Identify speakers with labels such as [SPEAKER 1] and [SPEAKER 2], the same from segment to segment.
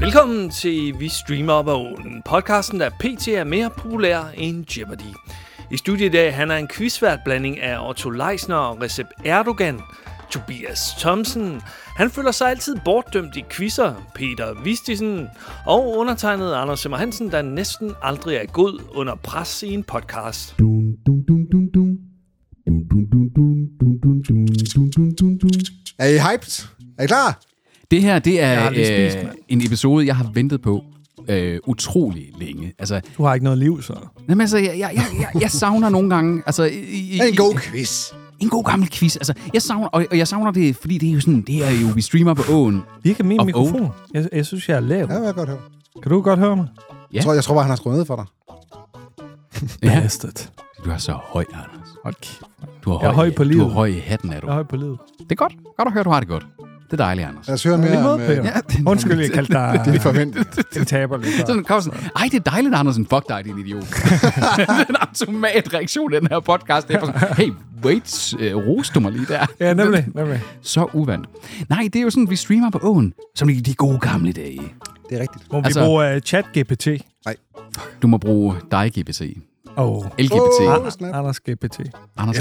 [SPEAKER 1] Velkommen til Vi Streamer Op ad Ålen, podcasten, der pt. er mere populær end Jeopardy. I studiet i dag han er en quizvært blanding af Otto Leisner og Recep Erdogan, Tobias Thomsen. Han føler sig altid bortdømt i quizzer, Peter Vistisen og undertegnet Anders Simmer Hansen, der næsten aldrig er god under pres i en podcast.
[SPEAKER 2] Dun, dun, dun, dun, dun. Dun, dun, dun, dun, dun, dun, dun, dun, dun, dun, dun.
[SPEAKER 3] Er I hyped? Er I klar?
[SPEAKER 4] Det her, det
[SPEAKER 5] har
[SPEAKER 4] er
[SPEAKER 5] lige spist,
[SPEAKER 4] øh, en episode, jeg har ventet på øh, utrolig længe. Altså,
[SPEAKER 5] Du har ikke noget liv, så.
[SPEAKER 4] jamen, altså jeg, jeg, jeg, jeg, jeg savner nogle gange... Altså, i, i,
[SPEAKER 3] En god quiz.
[SPEAKER 4] en god gammel quiz. Altså, jeg savner, og, og jeg savner det, fordi det er jo sådan... Det er jo, vi streamer på åen.
[SPEAKER 5] Ikke min
[SPEAKER 4] Og
[SPEAKER 5] mikrofon. Jeg, jeg synes, jeg er lav.
[SPEAKER 3] Ja, det var godt høre.
[SPEAKER 5] Kan du godt høre mig?
[SPEAKER 3] Jeg tror, jeg tror bare, han har skruet ned for dig.
[SPEAKER 4] Ja,
[SPEAKER 5] Bastard.
[SPEAKER 4] du er så høj, Anders.
[SPEAKER 5] Hold kæft.
[SPEAKER 4] Du er
[SPEAKER 5] Jeg er høj på
[SPEAKER 4] Du
[SPEAKER 5] livet.
[SPEAKER 4] er høj i hatten, er du.
[SPEAKER 5] Jeg er høj på livet.
[SPEAKER 4] Det er godt. Godt at høre, du har det godt. Det er dejligt, Anders.
[SPEAKER 3] Lad os høre
[SPEAKER 5] Ja,
[SPEAKER 3] mere
[SPEAKER 5] lige måde,
[SPEAKER 3] om øh,
[SPEAKER 5] Peter. Undskyld, jeg kaldte dig
[SPEAKER 3] det, vi forventede.
[SPEAKER 5] en taber lidt.
[SPEAKER 4] Sådan kom sådan, ej, det er dejligt, Andersen. Fuck dig, din idiot. det er en automatreaktion, den her podcast. Det er bare sådan, hey, wait, øh, roste du mig lige der.
[SPEAKER 5] Ja, nemlig. nemlig.
[SPEAKER 4] Så uvandt. Nej, det er jo sådan, vi streamer på åen, som i de gode gamle dage.
[SPEAKER 3] Det er rigtigt.
[SPEAKER 5] Må vi
[SPEAKER 4] Altså-
[SPEAKER 5] bruge uh, chat-GPT?
[SPEAKER 4] Du må bruge dig, GPT.
[SPEAKER 5] Åh, oh.
[SPEAKER 4] LGBT.
[SPEAKER 3] Åh, snap.
[SPEAKER 5] Anders GPT.
[SPEAKER 4] Anders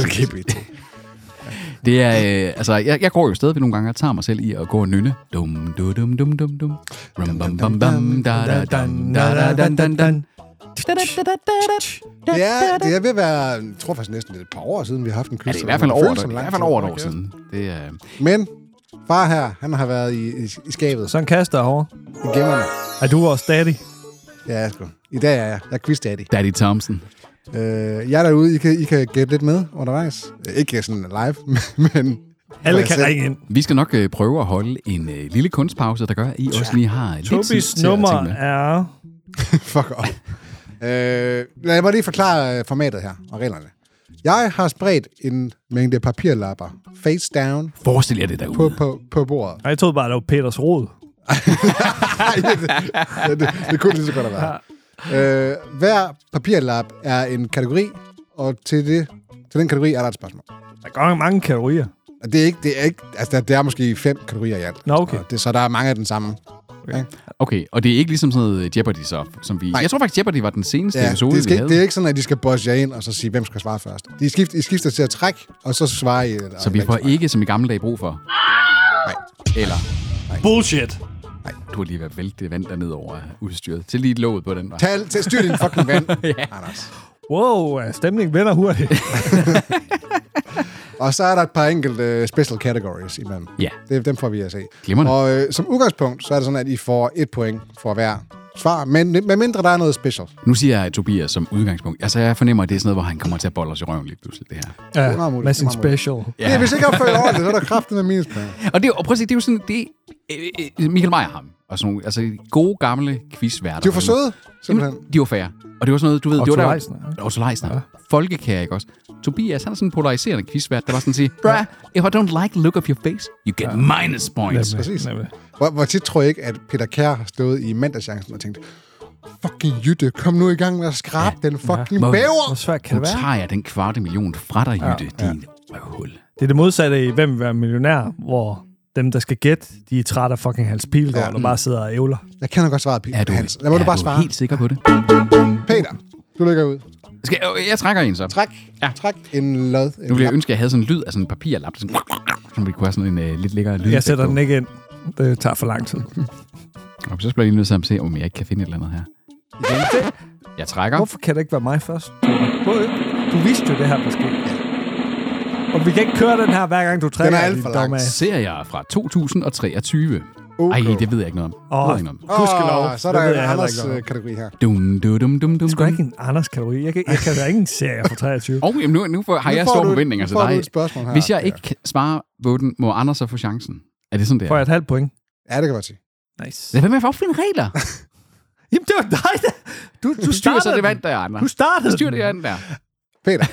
[SPEAKER 4] Det er, øh, altså, jeg, jeg går jo stadigvæk nogle gange og tager mig selv i at gå og nynne. Dum, du, dum, dum, dum, dum. Rum, bam, bam, bam, da, da, dam, da, da, dan, dan, dan. Da, da, da, da, da, da.
[SPEAKER 3] Det er, det er ved at være, jeg tror faktisk næsten det er et par år siden, vi har haft en
[SPEAKER 4] Ja,
[SPEAKER 3] quiz.
[SPEAKER 4] det er i
[SPEAKER 3] så
[SPEAKER 4] hvert fald
[SPEAKER 3] det
[SPEAKER 4] over,
[SPEAKER 3] føles
[SPEAKER 4] det,
[SPEAKER 3] som
[SPEAKER 4] i
[SPEAKER 3] lang
[SPEAKER 4] hvert fald
[SPEAKER 3] tid.
[SPEAKER 4] over et år siden. Det er, øh,
[SPEAKER 3] Men far her, han har været i, i, i skabet.
[SPEAKER 5] Sådan kaster jeg over.
[SPEAKER 3] I gemmerne.
[SPEAKER 5] Er du også daddy?
[SPEAKER 3] Ja, jeg sgu. I dag er jeg. Jeg er quiz daddy.
[SPEAKER 4] Daddy Thompson.
[SPEAKER 3] Øh, jeg er derude, I kan, I kan gætte lidt med undervejs. Øh, Ikke sådan live, men...
[SPEAKER 5] Alle
[SPEAKER 3] jeg
[SPEAKER 5] kan
[SPEAKER 3] selv-
[SPEAKER 5] ringe ind.
[SPEAKER 4] Vi skal nok øh, prøve at holde en øh, lille kunstpause, der gør, at I også lige har lidt tid
[SPEAKER 5] Tobis
[SPEAKER 4] til at
[SPEAKER 5] nummer
[SPEAKER 4] tænke med.
[SPEAKER 5] er...
[SPEAKER 3] Fuck off. øh, lad mig lige forklare øh, formatet her og reglerne. Jeg har spredt en mængde papirlapper face down
[SPEAKER 4] Forestil jer det derude.
[SPEAKER 3] på, på, på bordet.
[SPEAKER 5] Ej, Jeg troede bare, det var Peters Rod.
[SPEAKER 3] Ej, det, det, det, det kunne lige så godt have været. Øh, hver papirlap er en kategori, og til, det, til den kategori er der et spørgsmål.
[SPEAKER 5] Der er godt nok mange kalorier.
[SPEAKER 3] Og det er ikke, det er ikke, altså der, der er måske fem kategorier i alt.
[SPEAKER 5] Nå, okay.
[SPEAKER 3] Og det, så der er mange af den samme.
[SPEAKER 4] Okay, og det er ikke ligesom sådan noget Jeopardy, så, som vi...
[SPEAKER 3] Nej.
[SPEAKER 4] Jeg tror faktisk, Jeopardy var den seneste ja, episode,
[SPEAKER 3] det,
[SPEAKER 4] vi
[SPEAKER 3] skal,
[SPEAKER 4] havde.
[SPEAKER 3] ikke- det er ikke sådan, at de skal bosse jer ind og så sige, hvem skal svare først. De skifter, I skifter til at trække, og så svarer I. eller-
[SPEAKER 4] Så vi
[SPEAKER 3] eller
[SPEAKER 4] får
[SPEAKER 3] svarer.
[SPEAKER 4] ikke, som i gamle dage, brug for...
[SPEAKER 3] Nej.
[SPEAKER 4] Eller...
[SPEAKER 5] Bullshit.
[SPEAKER 4] Du har lige været væltet vand dernede over udstyret. Til lige låget på den der.
[SPEAKER 3] Tal, tal, styr din fucking vand, Anders.
[SPEAKER 5] Wow, øh, stemningen vender hurtigt.
[SPEAKER 3] Og så er der et par enkelte øh, special categories imellem.
[SPEAKER 4] Ja.
[SPEAKER 3] Det, dem får vi at se.
[SPEAKER 4] Glimrende.
[SPEAKER 3] Og øh, som udgangspunkt, så er det sådan, at I får et point for hver svar, men med mindre der er noget special.
[SPEAKER 4] Nu siger jeg Tobias som udgangspunkt. Altså, jeg fornemmer, at det er sådan noget, hvor han kommer til at bolle os i røven lige pludselig, det her.
[SPEAKER 5] Ja,
[SPEAKER 3] meget muligt. Det er
[SPEAKER 5] med sin
[SPEAKER 3] meget muligt.
[SPEAKER 5] special.
[SPEAKER 3] Ja. Det, er, hvis ikke jeg opfører ordentligt, så er der kraften med minuspoint.
[SPEAKER 4] Og, det, er jo- og prøv at se, det er jo sådan, det øh, øh, Michael Meyer ham. Og sådan nogle, altså gode gamle quizværter.
[SPEAKER 3] De er for søde, simpelthen.
[SPEAKER 4] Jamen, de var færre. Og det var sådan noget, du ved...
[SPEAKER 5] Otto
[SPEAKER 4] det var
[SPEAKER 5] Leisner,
[SPEAKER 4] Der, Otto Leisner. Ja. Folkekær, ikke også? Tobias, han er sådan en polariserende quizvært, der bare sådan siger, Bruh, if I don't like the look of your face, you get minus points.
[SPEAKER 5] Nemlig, nemlig.
[SPEAKER 3] Hvor, hvor tit tror jeg ikke, at Peter Kær har stået i mandagschancen og tænkt, fucking Jytte, kom nu i gang med at skrabe ja. den fucking
[SPEAKER 4] Må-
[SPEAKER 3] bæver.
[SPEAKER 5] Hvor svært kan
[SPEAKER 4] Nu
[SPEAKER 5] det være?
[SPEAKER 4] tager jeg den kvarte million fra dig, Jytte, ja, ja. din røvhul.
[SPEAKER 5] Det er det modsatte i Hvem vil være millionær, hvor dem, der skal gætte, de er trætte af fucking Hans Pilgaard, ja. der bare sidder og ævler.
[SPEAKER 3] Jeg kender godt svaret, Peter
[SPEAKER 4] Er du,
[SPEAKER 3] Hans. Lad mig
[SPEAKER 4] er
[SPEAKER 3] du bare
[SPEAKER 4] du
[SPEAKER 3] svare.
[SPEAKER 4] helt sikker på det?
[SPEAKER 3] Peter, du ligger ud.
[SPEAKER 4] Skal, jeg, jeg trækker en så.
[SPEAKER 3] Træk,
[SPEAKER 4] Ja.
[SPEAKER 3] træk en lod. En
[SPEAKER 4] Nu ville jeg
[SPEAKER 3] lap.
[SPEAKER 4] ønske, at jeg havde sådan en lyd af sådan en papirlap, sådan, som vi kunne have sådan en øh, lidt lækkere lyd.
[SPEAKER 5] Jeg sætter den ikke ind. Det tager for lang tid.
[SPEAKER 4] Og så bliver jeg lige nødt til at se, om jeg ikke kan finde et eller andet her. Jeg trækker.
[SPEAKER 5] Hvorfor kan det ikke være mig først? Du vidste jo det her måske. Og vi kan ikke køre den her, hver gang du trækker.
[SPEAKER 3] alt
[SPEAKER 5] din
[SPEAKER 3] for lang.
[SPEAKER 5] dumme af.
[SPEAKER 4] Ser jeg fra 2023.
[SPEAKER 3] Okay.
[SPEAKER 4] Okay. Ej, det ved jeg ikke noget om. Det ved
[SPEAKER 5] Åh,
[SPEAKER 4] jeg ikke noget om.
[SPEAKER 3] Åh,
[SPEAKER 5] gudskelov.
[SPEAKER 3] så er
[SPEAKER 5] Det
[SPEAKER 3] der
[SPEAKER 5] ved
[SPEAKER 3] en
[SPEAKER 5] jeg heller
[SPEAKER 3] Anders
[SPEAKER 5] ikke noget om.
[SPEAKER 3] øh, kategori her.
[SPEAKER 4] Dum, dum, dum, dum, dum.
[SPEAKER 5] Det er sgu da ikke en Anders-kategori. Jeg kan, jeg kan da ikke en serie fra 23.
[SPEAKER 4] Og jamen, nu, nu får, har
[SPEAKER 3] Nu
[SPEAKER 4] jeg
[SPEAKER 3] får
[SPEAKER 4] store
[SPEAKER 3] du-
[SPEAKER 4] forventninger
[SPEAKER 3] nu
[SPEAKER 4] til
[SPEAKER 3] får du
[SPEAKER 4] dig.
[SPEAKER 3] et spørgsmål her,
[SPEAKER 4] Hvis jeg
[SPEAKER 3] Peter.
[SPEAKER 4] ikke kan svare på den, må Anders så få chancen. Er det sådan, det
[SPEAKER 5] Får jeg
[SPEAKER 4] er?
[SPEAKER 5] et halvt point?
[SPEAKER 3] Ja, det kan jeg godt sige.
[SPEAKER 5] Nice.
[SPEAKER 4] Lad være med at opfinde regler.
[SPEAKER 5] Jamen, det var dig, der. Du, du,
[SPEAKER 4] Du styrer så
[SPEAKER 5] startede
[SPEAKER 4] det
[SPEAKER 5] den.
[SPEAKER 4] vand der, Anders.
[SPEAKER 5] Du startede
[SPEAKER 4] styrer
[SPEAKER 5] den.
[SPEAKER 4] det vand der.
[SPEAKER 3] Peter,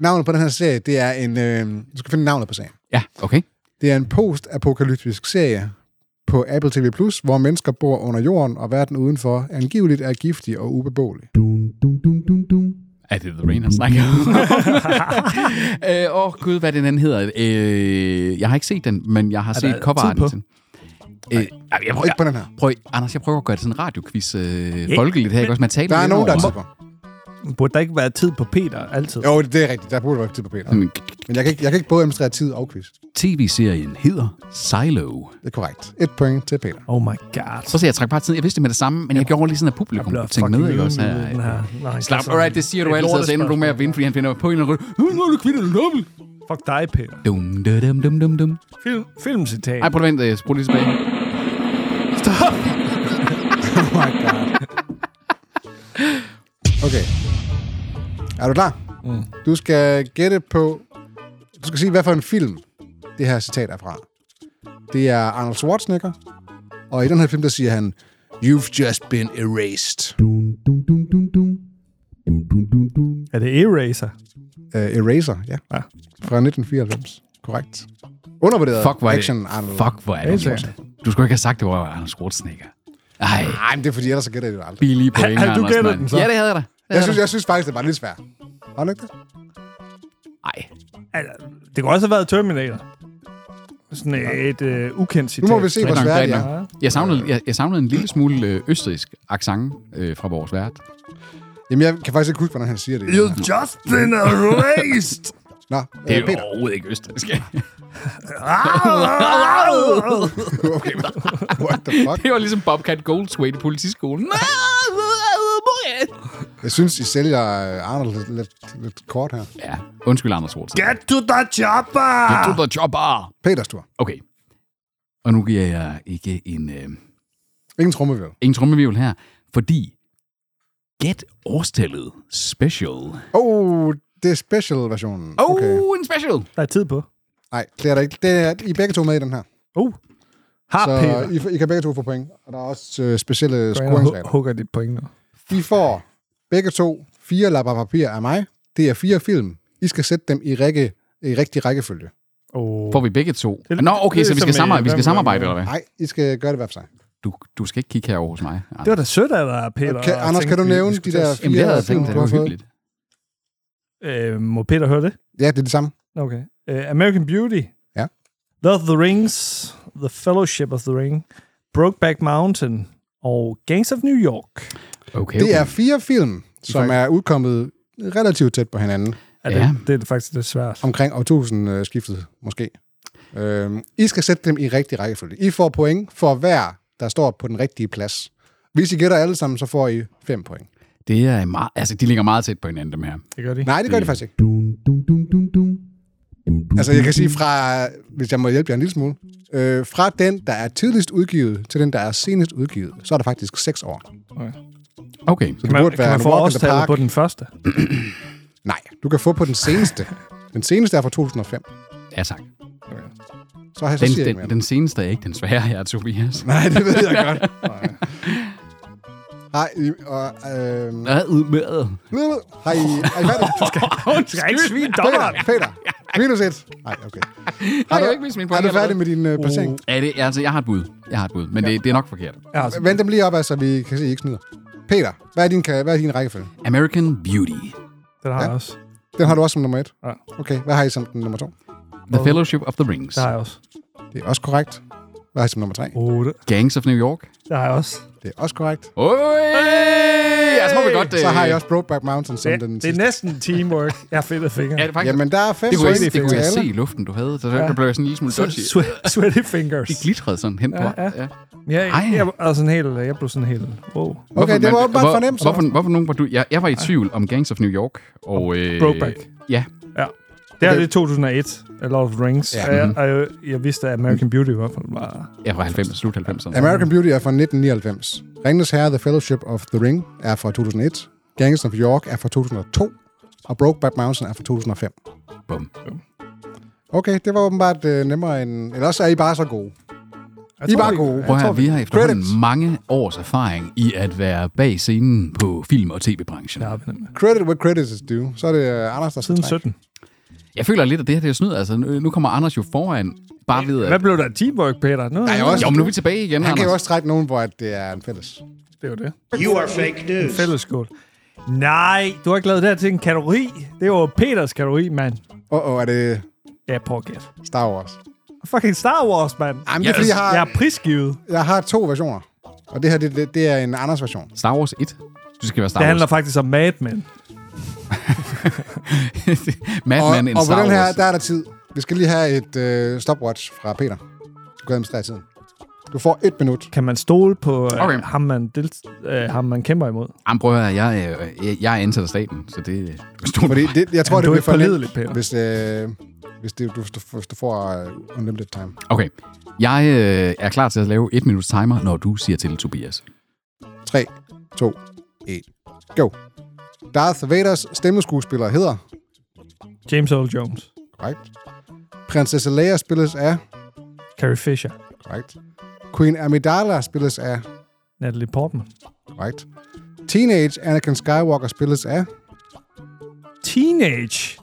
[SPEAKER 3] navnet på den her serie, det er en... Øh, du skal finde navnet på serien.
[SPEAKER 4] Ja, okay.
[SPEAKER 3] Det er en post-apokalyptisk serie på Apple TV+, Plus, hvor mennesker bor under jorden, og verden udenfor angiveligt er giftig og ubeboelig.
[SPEAKER 2] Dun, dun, dun, dun, dun.
[SPEAKER 4] Er det The Rain, han snakker om? Øh, Åh, øh, oh, gud, hvad den anden hedder. Øh, jeg har ikke set den, men jeg har
[SPEAKER 5] der
[SPEAKER 4] set coverarten
[SPEAKER 5] tid på?
[SPEAKER 4] til den. Øh, ej, jeg prøver,
[SPEAKER 3] Ikke på den her.
[SPEAKER 4] Prøv, Anders, jeg prøver at gøre det sådan en radioquiz øh, folkeligt her, ikke også? Man taler
[SPEAKER 3] Der er
[SPEAKER 4] lidt
[SPEAKER 3] nogen, der
[SPEAKER 4] over
[SPEAKER 3] er
[SPEAKER 4] sig.
[SPEAKER 3] tid på.
[SPEAKER 5] Burde der ikke være tid på Peter altid?
[SPEAKER 3] Jo, det er rigtigt. Der burde være tid på Peter.
[SPEAKER 4] Jamen,
[SPEAKER 3] Men jeg kan ikke, jeg kan ikke både administrere tid og quiz.
[SPEAKER 4] TV-serien hedder Silo.
[SPEAKER 3] Det er korrekt. Et point til Peter.
[SPEAKER 5] Oh my god.
[SPEAKER 4] Så ser jeg trække bare tiden. Jeg vidste det med det samme, men jeg gjorde lige sådan, at publikum kunne tænke med. Ikke også? Ja, ja.
[SPEAKER 5] Nej,
[SPEAKER 4] Slap, alright, det siger du altid, og så ender du med at vinde, fordi han finder på en eller anden rød. Nu er du kvitter, du dobbelt.
[SPEAKER 5] Fuck dig, Peter.
[SPEAKER 4] Dum, da, dum, dum, dum, dum.
[SPEAKER 5] Film, filmcitat.
[SPEAKER 4] Ej, prøv at vente, jeg spole lige tilbage.
[SPEAKER 3] Oh my god. Okay. Er du klar? Mm. Du skal gætte på... Du skal sige, hvad for en film det her citat er fra. Det er Arnold Schwarzenegger, og i den her film, der siger han, You've just been erased.
[SPEAKER 5] Er det Eraser?
[SPEAKER 3] Uh, eraser, ja.
[SPEAKER 5] Ja.
[SPEAKER 3] Fra 1994. Korrekt. Undervurderet
[SPEAKER 4] Fuck, hvor er
[SPEAKER 3] action,
[SPEAKER 4] det.
[SPEAKER 3] Arnold.
[SPEAKER 4] Fuck, hvor er det. sjovt. Du skulle ikke have sagt, det var Anders Schwarzenegger. Ej,
[SPEAKER 3] Nej, men det er fordi, ellers så gætter jeg det aldrig.
[SPEAKER 4] billige point,
[SPEAKER 5] Har- har du
[SPEAKER 4] Anders,
[SPEAKER 5] gættet
[SPEAKER 4] mand.
[SPEAKER 5] den så?
[SPEAKER 4] Ja, det havde jeg da. Det
[SPEAKER 3] Jeg
[SPEAKER 4] havde
[SPEAKER 3] synes,
[SPEAKER 4] da.
[SPEAKER 3] jeg synes faktisk, det var lidt svært. Var det ikke det?
[SPEAKER 4] Ej,
[SPEAKER 5] Altså, det kunne også have været Terminator. Sådan et øh, ukendt
[SPEAKER 3] Nu
[SPEAKER 5] citat.
[SPEAKER 3] må vi se, hvor
[SPEAKER 4] Rigtig nok,
[SPEAKER 3] svært det
[SPEAKER 4] rigtig
[SPEAKER 3] er.
[SPEAKER 4] nok. Jeg savnede, jeg, jeg savnede en lille smule øh, østrigsk accent øh, fra vores vært.
[SPEAKER 3] Jamen, jeg kan faktisk ikke huske, hvordan han siger det.
[SPEAKER 5] just been erased.
[SPEAKER 3] Nå,
[SPEAKER 4] Det er
[SPEAKER 3] øh,
[SPEAKER 4] jo
[SPEAKER 3] Peter.
[SPEAKER 4] overhovedet ikke østrigsk.
[SPEAKER 3] Okay, what the fuck?
[SPEAKER 4] det var ligesom Bobcat Goldthwait i politiskolen.
[SPEAKER 3] Jeg synes, I sælger øh, Arnold lidt, lidt, lidt kort her.
[SPEAKER 4] ja, undskyld, Anders Schwartz.
[SPEAKER 5] Get to the chopper!
[SPEAKER 4] to the chopper!
[SPEAKER 3] Peters tur.
[SPEAKER 4] Okay. Og nu giver jeg ikke en, øh,
[SPEAKER 3] Ingen trummevirvel.
[SPEAKER 4] ingen trummevivel her, fordi Get årstallet special.
[SPEAKER 3] Oh, det er special-versionen.
[SPEAKER 4] Oh,
[SPEAKER 3] Okay.
[SPEAKER 4] en special!
[SPEAKER 5] Der er tid på.
[SPEAKER 3] Nej, det er der ikke. Det er, I er begge to med i den her.
[SPEAKER 5] Uh. Har
[SPEAKER 3] Så øh,
[SPEAKER 5] Peter.
[SPEAKER 3] I, f- I kan begge to få point. Og der er også øh, specielle
[SPEAKER 5] Går ind og hu-
[SPEAKER 3] scoringsregler.
[SPEAKER 5] hugger dit point nu.
[SPEAKER 3] I får begge to fire lapper papir af mig. Det er fire film. I skal sætte dem i, række, i rigtig rækkefølge.
[SPEAKER 5] Oh.
[SPEAKER 4] Får vi begge to.
[SPEAKER 5] Det-
[SPEAKER 4] Nå, okay,
[SPEAKER 5] det er
[SPEAKER 4] så vi
[SPEAKER 5] som
[SPEAKER 4] skal,
[SPEAKER 5] i-
[SPEAKER 4] samarbejde, vi skal
[SPEAKER 5] hvem-
[SPEAKER 4] samarbejde,
[SPEAKER 5] hvem-
[SPEAKER 4] eller hvad?
[SPEAKER 3] Nej, I skal gøre det hver for sig.
[SPEAKER 4] Du, du skal ikke kigge herover hos mig. Anders.
[SPEAKER 5] Det var da sødt af dig, Peter.
[SPEAKER 3] Kan,
[SPEAKER 5] at
[SPEAKER 3] Anders,
[SPEAKER 5] tænke,
[SPEAKER 3] kan du
[SPEAKER 5] vi- vi
[SPEAKER 3] nævne de
[SPEAKER 5] skulle
[SPEAKER 3] der
[SPEAKER 5] tage-
[SPEAKER 4] Jamen, det
[SPEAKER 3] fire
[SPEAKER 4] havde jeg tænkt,
[SPEAKER 3] film,
[SPEAKER 4] det
[SPEAKER 3] du har
[SPEAKER 4] var
[SPEAKER 3] fået?
[SPEAKER 4] hyggeligt.
[SPEAKER 5] Øh, må Peter høre det?
[SPEAKER 3] Ja, det er det samme.
[SPEAKER 5] Okay. Uh, American Beauty.
[SPEAKER 3] Ja.
[SPEAKER 5] Love the Rings. The Fellowship of the Ring. Brokeback Mountain. Og Gangs of New York.
[SPEAKER 4] Okay,
[SPEAKER 3] Det
[SPEAKER 4] okay.
[SPEAKER 3] er fire film, som er udkommet relativt tæt på hinanden.
[SPEAKER 5] Er det,
[SPEAKER 4] Ja.
[SPEAKER 5] det er faktisk lidt svært.
[SPEAKER 3] Omkring årtusindskiftet, måske. Øhm, I skal sætte dem i rigtig rækkefølge. I får point for hver, der står på den rigtige plads. Hvis I gætter alle sammen, så får I fem point.
[SPEAKER 4] Det er meget, altså, de ligger meget tæt på hinanden, dem her.
[SPEAKER 5] Det gør de.
[SPEAKER 3] Nej, det gør det faktisk ikke. Altså, jeg kan sige fra, hvis jeg må hjælpe jer en lille smule, øh, fra den, der er tidligst udgivet, til den, der er senest udgivet, så er der faktisk seks år.
[SPEAKER 4] Okay,
[SPEAKER 3] Så det
[SPEAKER 5] Kan man,
[SPEAKER 3] burde
[SPEAKER 5] kan
[SPEAKER 3] være
[SPEAKER 5] man
[SPEAKER 3] en
[SPEAKER 5] få
[SPEAKER 3] walk in the
[SPEAKER 5] årstallet
[SPEAKER 3] park.
[SPEAKER 5] på den første?
[SPEAKER 3] Nej, du kan få på den seneste. Den seneste er fra 2005.
[SPEAKER 4] ja tak.
[SPEAKER 3] Så har jeg så
[SPEAKER 4] Den,
[SPEAKER 3] siger jeg ikke mere.
[SPEAKER 4] den, den seneste er ikke den svære her, Tobias.
[SPEAKER 3] Nej, det ved jeg godt. Nej, I, og, øh,
[SPEAKER 4] Hvad udmærket?
[SPEAKER 3] har I... Er I færdige?
[SPEAKER 5] Du skal ikke svine dommeren.
[SPEAKER 3] Peter, Peter, minus et. Nej, okay. Har
[SPEAKER 4] jeg
[SPEAKER 3] du,
[SPEAKER 4] har ikke vist mine
[SPEAKER 3] er
[SPEAKER 4] point
[SPEAKER 3] du færdig med din øh,
[SPEAKER 5] Uh.
[SPEAKER 3] placering?
[SPEAKER 4] Er det, altså, jeg har et bud. Jeg har et bud, men det, det er nok forkert.
[SPEAKER 5] Ja, altså,
[SPEAKER 3] Vend dem lige op, så vi kan se, at I ikke snyder. Peter, hvad er din, ka- hvad er din rækkefølge?
[SPEAKER 4] American Beauty.
[SPEAKER 5] den har jeg også.
[SPEAKER 3] Den har du også som nummer et.
[SPEAKER 5] Ja.
[SPEAKER 3] Okay, hvad har I som den nummer to?
[SPEAKER 4] The Fellowship of the Rings.
[SPEAKER 5] Det har jeg også.
[SPEAKER 3] Det er også korrekt. Hvad har I som nummer tre?
[SPEAKER 5] Oh, det,
[SPEAKER 4] Gangs of New York.
[SPEAKER 5] det har jeg også.
[SPEAKER 3] Det er også korrekt.
[SPEAKER 4] Hey! Altså, må vi godt...
[SPEAKER 3] Så
[SPEAKER 4] øh,
[SPEAKER 3] har I også Brokeback Mountain som
[SPEAKER 5] Det,
[SPEAKER 3] den
[SPEAKER 5] det er
[SPEAKER 3] sidste.
[SPEAKER 5] næsten teamwork. Jeg har fedtet fingre.
[SPEAKER 4] Ja, det, er faktisk,
[SPEAKER 3] Jamen, der er fem
[SPEAKER 4] det, kunne jeg,
[SPEAKER 3] point
[SPEAKER 4] det kunne jeg
[SPEAKER 3] til
[SPEAKER 4] se
[SPEAKER 3] alle.
[SPEAKER 4] i luften, du havde. Så der ja. blev jeg sådan en lille smule dodgy.
[SPEAKER 5] Swe- Sweaty fingers.
[SPEAKER 4] De glitrede sådan hen på.
[SPEAKER 5] Ja,
[SPEAKER 4] Ja,
[SPEAKER 5] ja.
[SPEAKER 4] ja.
[SPEAKER 5] Ja,
[SPEAKER 4] Ej.
[SPEAKER 5] jeg, jeg, var sådan helt, jeg blev sådan helt... Wow.
[SPEAKER 3] Okay, det var
[SPEAKER 4] man-
[SPEAKER 3] åbenbart
[SPEAKER 4] hvor-
[SPEAKER 3] for nemt, så.
[SPEAKER 4] Hvorfor, hvorfor nogen var du... Jeg, jeg var i tvivl om Gangs of New York og... Øh,
[SPEAKER 5] Brokeback.
[SPEAKER 4] Ja,
[SPEAKER 5] Det her
[SPEAKER 3] Okay.
[SPEAKER 5] det er 2001, A Lot of Rings.
[SPEAKER 3] Ja.
[SPEAKER 5] Ja. Og jeg, og jeg, jeg vidste, at American Beauty i hvert fald var...
[SPEAKER 4] jeg var 90, slut 90'erne.
[SPEAKER 3] American Beauty er fra 1999. Ringens Herre, The Fellowship of the Ring, er fra 2001. Gangs of York er fra 2002. Og Brokeback Mountain er fra 2005.
[SPEAKER 4] Bum.
[SPEAKER 3] Okay, det var åbenbart øh, nemmere end... Eller også er I bare så gode.
[SPEAKER 5] Jeg
[SPEAKER 3] I er
[SPEAKER 5] tror
[SPEAKER 3] bare
[SPEAKER 5] ikke-
[SPEAKER 3] gode.
[SPEAKER 4] Prøv at høre, vi har efterhånden
[SPEAKER 3] Credits.
[SPEAKER 4] mange års erfaring i at være bag scenen på film- og tv-branchen.
[SPEAKER 5] Ja, men-
[SPEAKER 3] Credit where credit is due. Så er det øh, Anders, der skal
[SPEAKER 5] Siden
[SPEAKER 3] trække.
[SPEAKER 5] 17.
[SPEAKER 4] Jeg føler lidt, at det her det er snyd. Altså, nu nu kommer Anders jo foran, bare ved at...
[SPEAKER 5] Hvad blev der af teamwork, Peter? Nu,
[SPEAKER 3] Der er jo også,
[SPEAKER 4] Jo, men nu er vi tilbage igen,
[SPEAKER 3] han kan jo
[SPEAKER 4] Anders.
[SPEAKER 3] også trække nogen, hvor at det er en fælles.
[SPEAKER 5] Det er jo det.
[SPEAKER 6] You are fake news.
[SPEAKER 5] Fællesskål. Nej, du har ikke lavet det her til en kategori. Det var Peters kategori, mand.
[SPEAKER 3] Åh, oh, oh, er det
[SPEAKER 5] Ja, prøv at gætte.
[SPEAKER 3] Star Wars?
[SPEAKER 5] Fucking Star Wars, mand.
[SPEAKER 3] Jamen, det er,
[SPEAKER 4] Yes.
[SPEAKER 3] fordi jeg har,
[SPEAKER 5] Jeg er prisgivet.
[SPEAKER 3] jeg har to versioner. Og det her, det, det, det er en Anders version.
[SPEAKER 4] Star Wars 1. Du skal være Star
[SPEAKER 5] Det handler
[SPEAKER 4] Wars.
[SPEAKER 5] faktisk om Mad Men.
[SPEAKER 4] Mad
[SPEAKER 3] Og,
[SPEAKER 4] Men in
[SPEAKER 3] og på
[SPEAKER 4] Star
[SPEAKER 3] den
[SPEAKER 4] Wars.
[SPEAKER 3] her, der er der tid. Vi skal lige have et øh, stopwatch fra Peter. Du kan administrere tiden. Du får et minut.
[SPEAKER 5] Kan man stole på øh,
[SPEAKER 4] Okay.
[SPEAKER 5] okay. ham, man del- øh, ham, man kæmper imod?
[SPEAKER 4] Jamen, prøv at høre, jeg, øh, jeg, jeg er ansat af staten, så det du kan stole på
[SPEAKER 3] Fordi
[SPEAKER 4] mig.
[SPEAKER 3] det, jeg tror,
[SPEAKER 5] Men
[SPEAKER 3] det
[SPEAKER 5] du
[SPEAKER 3] bliver
[SPEAKER 5] er ikke
[SPEAKER 3] for
[SPEAKER 5] pålidelig, Peter.
[SPEAKER 3] nemt, hvis, øh, hvis, det, du, du, hvis du får øh, unlimited time.
[SPEAKER 4] Okay, jeg øh, er klar til at lave et minuts timer, når du siger til Tobias.
[SPEAKER 3] 3, 2, 1, go. Darth Vaders stemmeskuespiller hedder...
[SPEAKER 5] James Earl Jones.
[SPEAKER 3] Korrekt. Prinsesse Leia spilles af...
[SPEAKER 5] Carrie Fisher.
[SPEAKER 3] Korrekt. Queen Amidala spilles af...
[SPEAKER 5] Natalie Portman.
[SPEAKER 3] Korrekt. Teenage Anakin Skywalker spilles af...
[SPEAKER 5] Teenage.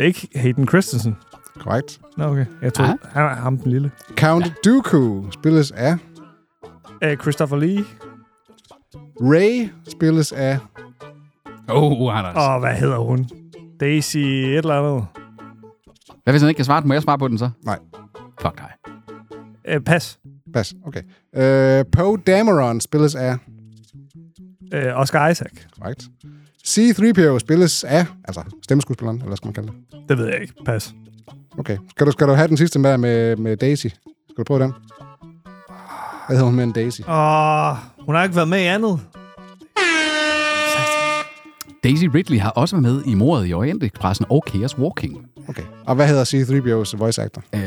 [SPEAKER 5] Ikke Hayden Christensen.
[SPEAKER 3] Korrekt.
[SPEAKER 5] Nå, okay. Jeg tror, han er ham den lille.
[SPEAKER 3] Count Dooku spilles af...
[SPEAKER 5] Uh, Christopher Lee.
[SPEAKER 3] Ray spilles af...
[SPEAKER 4] Åh, oh, Anders.
[SPEAKER 5] Og hvad hedder hun? Daisy et eller andet.
[SPEAKER 4] Hvad hvis han ikke kan svare den? Må jeg svare på den så?
[SPEAKER 3] Nej.
[SPEAKER 4] Fuck dig.
[SPEAKER 5] Uh, pas.
[SPEAKER 3] Pas, okay. Øh, Poe Dameron spilles af...
[SPEAKER 5] Uh, Oscar Isaac.
[SPEAKER 3] Korrekt. C-3PO spilles af... Altså, stemmeskuespilleren, eller hvad skal man kalde det?
[SPEAKER 5] Det ved jeg ikke. Pas.
[SPEAKER 3] Okay. Skal du, skal du have den sidste med, med, med Daisy? Skal du prøve den? Hvad hedder hun med en Daisy?
[SPEAKER 5] Og hun har ikke været med i andet.
[SPEAKER 4] Daisy Ridley har også været med i mordet i Orientekspressen og Chaos Walking.
[SPEAKER 3] Okay. Og hvad hedder C-3PO's voice actor?
[SPEAKER 4] Øh,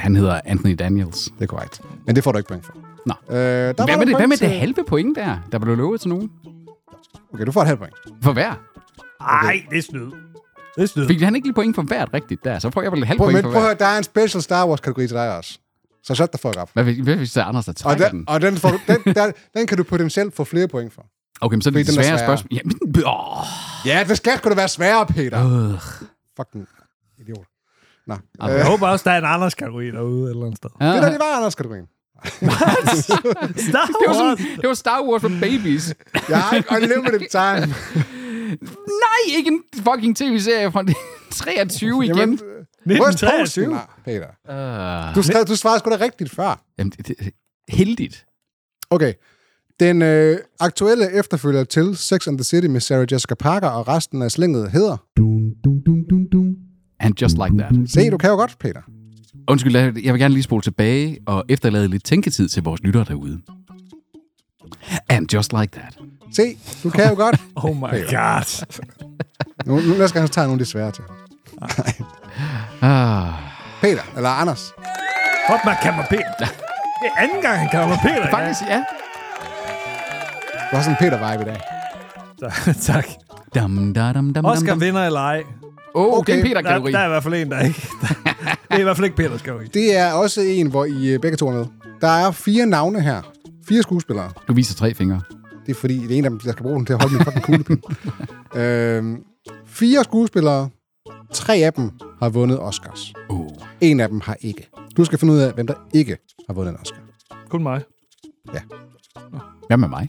[SPEAKER 4] han hedder Anthony Daniels.
[SPEAKER 3] Det er korrekt. Men det får du ikke point for.
[SPEAKER 4] Nå.
[SPEAKER 3] Øh, der var der
[SPEAKER 4] Hvad med, det,
[SPEAKER 3] point
[SPEAKER 4] hvad med
[SPEAKER 3] til-
[SPEAKER 4] det halve point der, der blev lovet til nogen?
[SPEAKER 3] Okay, du får et halvt point.
[SPEAKER 4] For hver?
[SPEAKER 5] Ej, det er snyd. Det er snyd.
[SPEAKER 4] Fik han ikke lige point for hvert rigtigt der? Så får jeg vel et halvt
[SPEAKER 3] Prøv,
[SPEAKER 4] point
[SPEAKER 3] men,
[SPEAKER 4] for
[SPEAKER 3] prøv at
[SPEAKER 4] hver.
[SPEAKER 3] høre, der er en special Star Wars-kategori til dig også. Så shut the fuck up.
[SPEAKER 4] Hvad hvis, hvad hvis det er Anders, der
[SPEAKER 3] Og,
[SPEAKER 4] trækker den?
[SPEAKER 3] den, og den, får, den, der, den kan du potentielt få flere point for.
[SPEAKER 4] Okay, men så er det
[SPEAKER 3] fordi
[SPEAKER 4] de
[SPEAKER 3] den er
[SPEAKER 4] svære
[SPEAKER 3] sværere.
[SPEAKER 4] spørgsmål. Jamen, åh,
[SPEAKER 3] Ja, det skal sgu da være sværere, Peter.
[SPEAKER 4] øh.
[SPEAKER 3] Fucking idiot. Nå.
[SPEAKER 4] Ej,
[SPEAKER 3] Øh,
[SPEAKER 5] Jeg håber også, der er en Anders kategori derude et eller andet sted.
[SPEAKER 3] det der, det var Anders-kategorien.
[SPEAKER 5] Star
[SPEAKER 4] det, var
[SPEAKER 5] Wars.
[SPEAKER 4] sådan, det var Star Wars for babies.
[SPEAKER 3] Jeg har ikke unlimited time.
[SPEAKER 4] Nej, ikke en fucking tv-serie fra 23 igen.
[SPEAKER 3] Jamen, øh,
[SPEAKER 4] Jamen,
[SPEAKER 3] Where's
[SPEAKER 5] 1923.
[SPEAKER 3] Posten? Nej, Peter.
[SPEAKER 4] uh,
[SPEAKER 3] Du, sta- du svarede sgu da rigtigt før.
[SPEAKER 4] jamen det, det, heldigt.
[SPEAKER 3] Okay. Den øh, aktuelle efterfølger til Sex and the City med Sarah Jessica Parker og resten af slinget hedder...
[SPEAKER 2] Dum, dum, dum, dum, dum.
[SPEAKER 4] And just like that.
[SPEAKER 3] Se, du kan jo godt, Peter.
[SPEAKER 4] Undskyld, lad- jeg vil gerne lige spole tilbage og efterlade lidt tænketid til vores lyttere derude. And just like that.
[SPEAKER 3] Se, du kan jo godt.
[SPEAKER 5] Oh my god.
[SPEAKER 3] Nu, nu næste gang, så tager jeg nogle af de svære til.
[SPEAKER 4] Ah,
[SPEAKER 3] Peter, eller Anders.
[SPEAKER 5] Hop med Kammer Peter. Det er anden gang, han kalder mig Peter. ja.
[SPEAKER 4] faktisk, ja.
[SPEAKER 3] Du har sådan en Peter-vibe i dag.
[SPEAKER 5] Tak. tak.
[SPEAKER 4] Dam, da, dam, dam, dam,
[SPEAKER 5] Oscar
[SPEAKER 4] dam.
[SPEAKER 5] vinder eller ej.
[SPEAKER 4] Åh, okay.
[SPEAKER 3] Okay.
[SPEAKER 4] det er
[SPEAKER 5] Der,
[SPEAKER 4] Peter-kategori.
[SPEAKER 5] der er i hvert fald en, der ikke... det er i hvert fald ikke Peters kategori.
[SPEAKER 3] Det er også en, hvor I øh, begge to er med. Der er fire navne her. Fire skuespillere.
[SPEAKER 4] Du viser tre fingre.
[SPEAKER 3] Det er fordi, det er en af dem, jeg skal bruge den til at holde min fucking kuglepind. øhm, fire skuespillere. Tre af dem har vundet Oscars.
[SPEAKER 4] Oh.
[SPEAKER 3] En af dem har ikke. Du skal finde ud af, hvem der ikke har vundet en Oscar.
[SPEAKER 5] Kun mig.
[SPEAKER 4] Hvad med mig?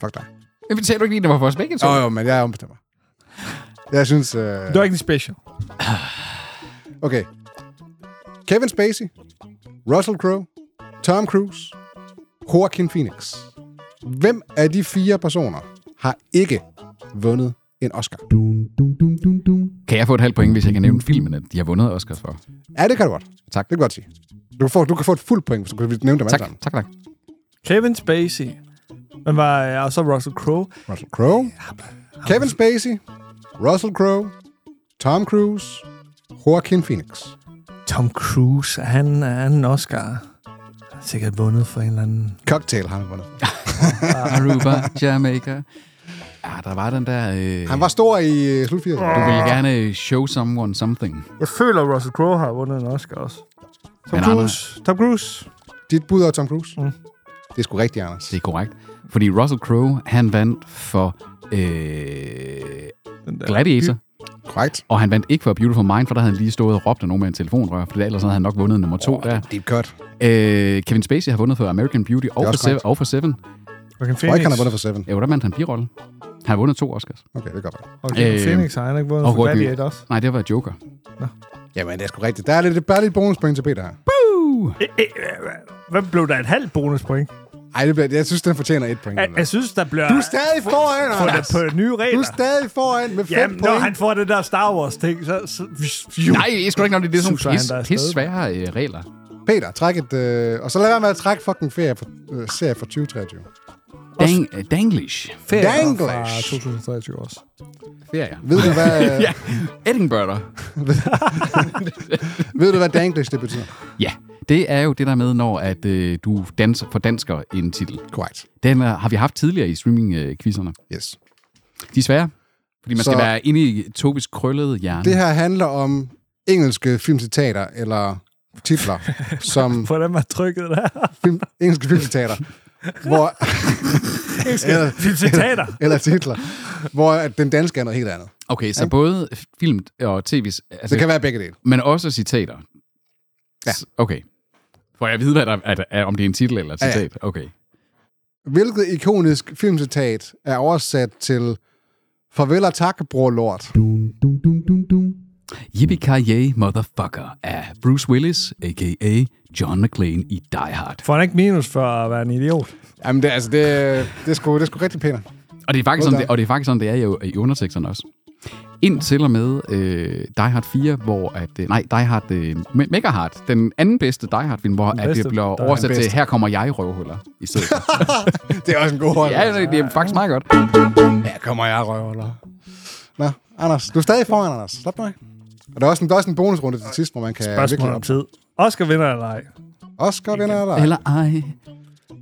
[SPEAKER 3] Fuck dig.
[SPEAKER 4] Jamen, sagde du ikke lige, det var for os begge to?
[SPEAKER 3] Jo, jo, men jeg er ombestemmer. Jeg synes... Øh,
[SPEAKER 5] Du er ikke en special.
[SPEAKER 3] okay. Kevin Spacey, Russell Crowe, Tom Cruise, Joaquin Phoenix. Hvem af de fire personer har ikke vundet en Oscar?
[SPEAKER 2] Dum, dum, dum, dum, dum.
[SPEAKER 4] Kan jeg få et halvt point, hvis jeg kan nævne filmen, at de har vundet Oscars for?
[SPEAKER 3] Ja, det kan du godt.
[SPEAKER 4] Tak.
[SPEAKER 3] Det kan jeg godt sige. Du kan få, du kan få et fuldt point, hvis du kan nævne dem alle
[SPEAKER 4] Tak,
[SPEAKER 3] sammen.
[SPEAKER 4] tak, tak.
[SPEAKER 5] Kevin Spacey. Men var ja, og så Russell Crowe.
[SPEAKER 3] Russell Crowe, Kevin Spacey, Russell Crowe, Tom Cruise, Joaquin Phoenix.
[SPEAKER 5] Tom Cruise, er han, er han en Oscar? Han har sikkert vundet for en eller anden...
[SPEAKER 3] Cocktail har han vundet.
[SPEAKER 4] Aruba, Jamaica. Ja, der var den der... Øh,
[SPEAKER 3] Han var stor i øh, slut 80'erne.
[SPEAKER 4] Du ville gerne show someone something.
[SPEAKER 5] Jeg føler, Russell Crowe har vundet en Oscar også. Tom
[SPEAKER 4] Men
[SPEAKER 5] Cruise. Tom Cruise.
[SPEAKER 3] Dit bud er Tom Cruise?
[SPEAKER 5] Mm.
[SPEAKER 3] Mm. Det er sgu rigtigt, Anders.
[SPEAKER 4] Det er korrekt. Fordi Russell Crowe, han vandt for øh,
[SPEAKER 5] Den der.
[SPEAKER 4] Gladiator,
[SPEAKER 3] Korrekt.
[SPEAKER 4] og han vandt ikke for Beautiful Mind, for der havde han lige stået og råbt af nogen med en telefonrør, for ellers havde han nok vundet nummer to der.
[SPEAKER 3] Deep cut.
[SPEAKER 4] Øh, Kevin Spacey har vundet for American Beauty og,
[SPEAKER 3] er
[SPEAKER 4] for
[SPEAKER 3] også
[SPEAKER 4] Seven,
[SPEAKER 3] korrekt.
[SPEAKER 4] og for Seven.
[SPEAKER 5] Joaquin
[SPEAKER 3] Jeg tror ikke, han
[SPEAKER 5] Phoenix.
[SPEAKER 3] har vundet for Seven.
[SPEAKER 4] Ja, der vandt han birolle. Han har vundet to Oscars.
[SPEAKER 3] Okay, det gør godt.
[SPEAKER 5] Og Joaquin
[SPEAKER 4] Øh,
[SPEAKER 5] Phoenix har han ikke vundet
[SPEAKER 4] og
[SPEAKER 5] for
[SPEAKER 4] Joaquin-
[SPEAKER 5] Gladiator også.
[SPEAKER 4] Nej, det var Joker.
[SPEAKER 3] Jamen, det er sgu rigtigt. Der er lidt, bare lidt bonuspoint til Peter her.
[SPEAKER 4] Boo! Uh.
[SPEAKER 5] Øh, øh, øh, Hvad blev der et halvt bonuspoint?
[SPEAKER 3] Ej, det bliver, jeg synes, den fortjener et point.
[SPEAKER 5] Jeg,
[SPEAKER 3] Allan.
[SPEAKER 5] jeg synes, der bliver...
[SPEAKER 3] Mm, Du er stadig foran,
[SPEAKER 5] på, altså- det,
[SPEAKER 3] Anders.
[SPEAKER 5] på nye regler.
[SPEAKER 3] Du er stadig foran med fem
[SPEAKER 5] Jamen,
[SPEAKER 3] point.
[SPEAKER 5] når han får det der Star Wars-ting, så... så
[SPEAKER 4] Nej, jeg skal ikke nok, det er sådan
[SPEAKER 5] Suser
[SPEAKER 4] nogle
[SPEAKER 5] han
[SPEAKER 4] pis,
[SPEAKER 5] dig afsted?
[SPEAKER 4] pis svære øh, regler.
[SPEAKER 3] Peter, træk et... Øh, og så lad være med at trække fucking ferie for, øh, serie for 2023.
[SPEAKER 4] Dang, øh, danglish.
[SPEAKER 5] Ferie
[SPEAKER 3] Danglish.
[SPEAKER 5] fra 2023 også.
[SPEAKER 4] Ferier.
[SPEAKER 3] Ved du, hvad, øh, ja.
[SPEAKER 4] Ja. Edinburgh. der.
[SPEAKER 3] ved du, hvad danglish det betyder?
[SPEAKER 4] Ja, det er jo det der med, når at, øh, du danser, fordansker en titel.
[SPEAKER 3] Korrekt.
[SPEAKER 4] Den øh, har vi haft tidligere i streaming-quizzerne.
[SPEAKER 3] Yes.
[SPEAKER 4] De er svære, fordi man
[SPEAKER 3] Så-
[SPEAKER 4] skal være inde i Tobis krøllede hjerne.
[SPEAKER 3] Det her handler om engelske filmcitater, eller titler, som
[SPEAKER 5] Hvordan man trykket der.
[SPEAKER 3] film, engelske filmcitater, hvor, eller,
[SPEAKER 5] Film citater.
[SPEAKER 3] eller titler, hvor at den danske er noget helt andet.
[SPEAKER 4] Okay, så både film og tv's, altså,
[SPEAKER 3] Det kan være begge dele.
[SPEAKER 4] men også citater.
[SPEAKER 3] Ja.
[SPEAKER 4] S- Okay. Får jeg at vide, hvad der er, er, om det er en titel eller et
[SPEAKER 3] Ja, ja.
[SPEAKER 4] citat? Okay.
[SPEAKER 3] Hvilket ikonisk filmcitat er oversat til Farvel og tak, bror lort.
[SPEAKER 2] dum dum dum dum dum
[SPEAKER 4] Yippee-ki-yay, motherfucker af Bruce Willis, a.k.a. John McClane i Die Hard.
[SPEAKER 5] Får han ikke minus for at være en idiot?
[SPEAKER 3] Jamen, det, altså, det, det, er sgu, det er sgu rigtig pænt.
[SPEAKER 4] Og det er faktisk,
[SPEAKER 3] Well
[SPEAKER 4] sådan, det, og det er, faktisk sådan, det er jo i underteksterne også. Indtil og med øh, Die Hard 4, hvor at... Øh, nej, Die Hard... Øh, Me- Mega Hard. Den anden bedste Die Hard-film, hvor at
[SPEAKER 5] bedste
[SPEAKER 4] det bliver
[SPEAKER 5] Die Hard.
[SPEAKER 4] oversat
[SPEAKER 3] Den
[SPEAKER 4] til
[SPEAKER 3] bedste.
[SPEAKER 4] Her kommer jeg, røvhuller. I stedet for.
[SPEAKER 3] Det er også en god hold.
[SPEAKER 4] ja, det, det er faktisk meget godt.
[SPEAKER 3] Ja, kommer jeg røvhuller. Nå, Anders, du er stadig foran, Anders. Slap nu af. Og der er også en, der er også en bonusrunde til sidst, hvor man kan
[SPEAKER 5] Spørgsmål om tid. Oscar vinder eller ej?
[SPEAKER 3] Oscar vinder eller ej?
[SPEAKER 4] Eller ej,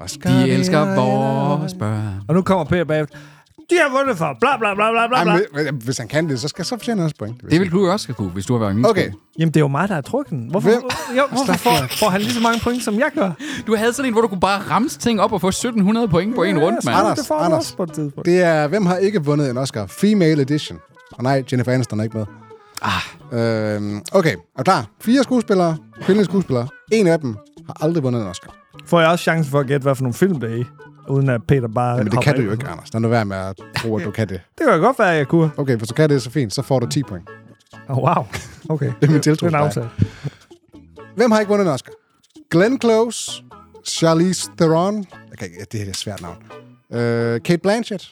[SPEAKER 3] Oscar
[SPEAKER 4] de
[SPEAKER 3] vinder
[SPEAKER 4] elsker
[SPEAKER 3] eller
[SPEAKER 4] vores
[SPEAKER 3] ej.
[SPEAKER 4] børn.
[SPEAKER 5] Og nu kommer Peter bagefter. De har vundet for bla bla bla bla bla.
[SPEAKER 3] Ej,
[SPEAKER 5] bla.
[SPEAKER 3] men hvis- hvis han kan det, så, skal, så fortjener han også point. vil
[SPEAKER 4] Det
[SPEAKER 3] jeg
[SPEAKER 4] vil du også have kunne, hvis du har været i min
[SPEAKER 3] sige. Okay,
[SPEAKER 5] Jamen, det er jo mig, der har trukket den. Hvorfor,
[SPEAKER 3] Hvem?
[SPEAKER 5] jo, hvorfor får, får han lige så mange point, som jeg gør?
[SPEAKER 4] sko. Du havde sådan en, hvor du kunne bare ramse ting op og få 1700 point på en runde, mand.
[SPEAKER 3] Anders,
[SPEAKER 5] det får han
[SPEAKER 3] Anders.
[SPEAKER 5] også på et tidspunkt.
[SPEAKER 3] det er, hvem har ikke vundet en Oscar? Female Edition. Og nej, Jennifer Aniston er ikke med. Ah. Øhm, okay, er du klar? Fire skuespillere, kvindelige skuespillere. En af dem har aldrig vundet en Oscar.
[SPEAKER 5] Får jeg også chancen for at gætte, hvad for nogle film det er i? Uden at Peter bare...
[SPEAKER 3] Men det
[SPEAKER 5] hopper
[SPEAKER 3] kan du
[SPEAKER 5] ind.
[SPEAKER 3] jo ikke, Anders. Lad nu være med at tro, at du kan det.
[SPEAKER 5] Det kan jo godt være, at jeg kunne.
[SPEAKER 3] Okay, hvis du kan det, så fint. Så får du 10 point.
[SPEAKER 5] Oh, wow. Okay.
[SPEAKER 3] Det er min
[SPEAKER 5] Det er
[SPEAKER 3] tiltro.
[SPEAKER 5] en
[SPEAKER 3] til dig.
[SPEAKER 5] aftale.
[SPEAKER 3] Hvem har ikke vundet en Oscar? Glenn Close, Charlize Theron, jeg kan ikke, det her er et svært navn, øh, Kate Blanchett,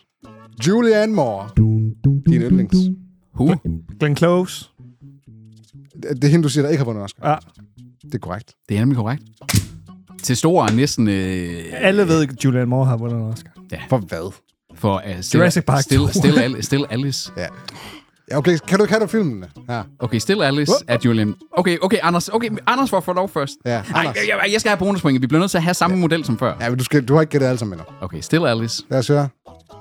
[SPEAKER 3] Julianne Moore,
[SPEAKER 2] dum dum
[SPEAKER 3] Din yndlings.
[SPEAKER 4] Who?
[SPEAKER 5] Glenn Close.
[SPEAKER 3] det er hende, du siger, der ikke har vundet en Oscar.
[SPEAKER 5] Ja.
[SPEAKER 3] Det er korrekt.
[SPEAKER 4] Det er nemlig korrekt. Til store næsten... Øh,
[SPEAKER 5] Alle ved, at Julian Moore har vundet en Oscar.
[SPEAKER 3] For hvad?
[SPEAKER 4] for uh, still,
[SPEAKER 5] Jurassic Park
[SPEAKER 4] Still,
[SPEAKER 5] 2.
[SPEAKER 4] still, Al- still Alice.
[SPEAKER 3] Ja. ja okay, kan du, kan du filmen? Ja.
[SPEAKER 4] Okay, Still Alice
[SPEAKER 3] What?
[SPEAKER 4] af Julian. Okay, okay, Anders. Okay, Anders får for lov først.
[SPEAKER 3] Ja,
[SPEAKER 4] Nej,
[SPEAKER 3] Anders.
[SPEAKER 4] jeg, jeg, skal have bonuspoint. Vi bliver nødt til at have samme model som før.
[SPEAKER 3] Ja, men du, skal, du har ikke gættet alle sammen endnu.
[SPEAKER 4] Okay, Still Alice.
[SPEAKER 3] Lad os høre.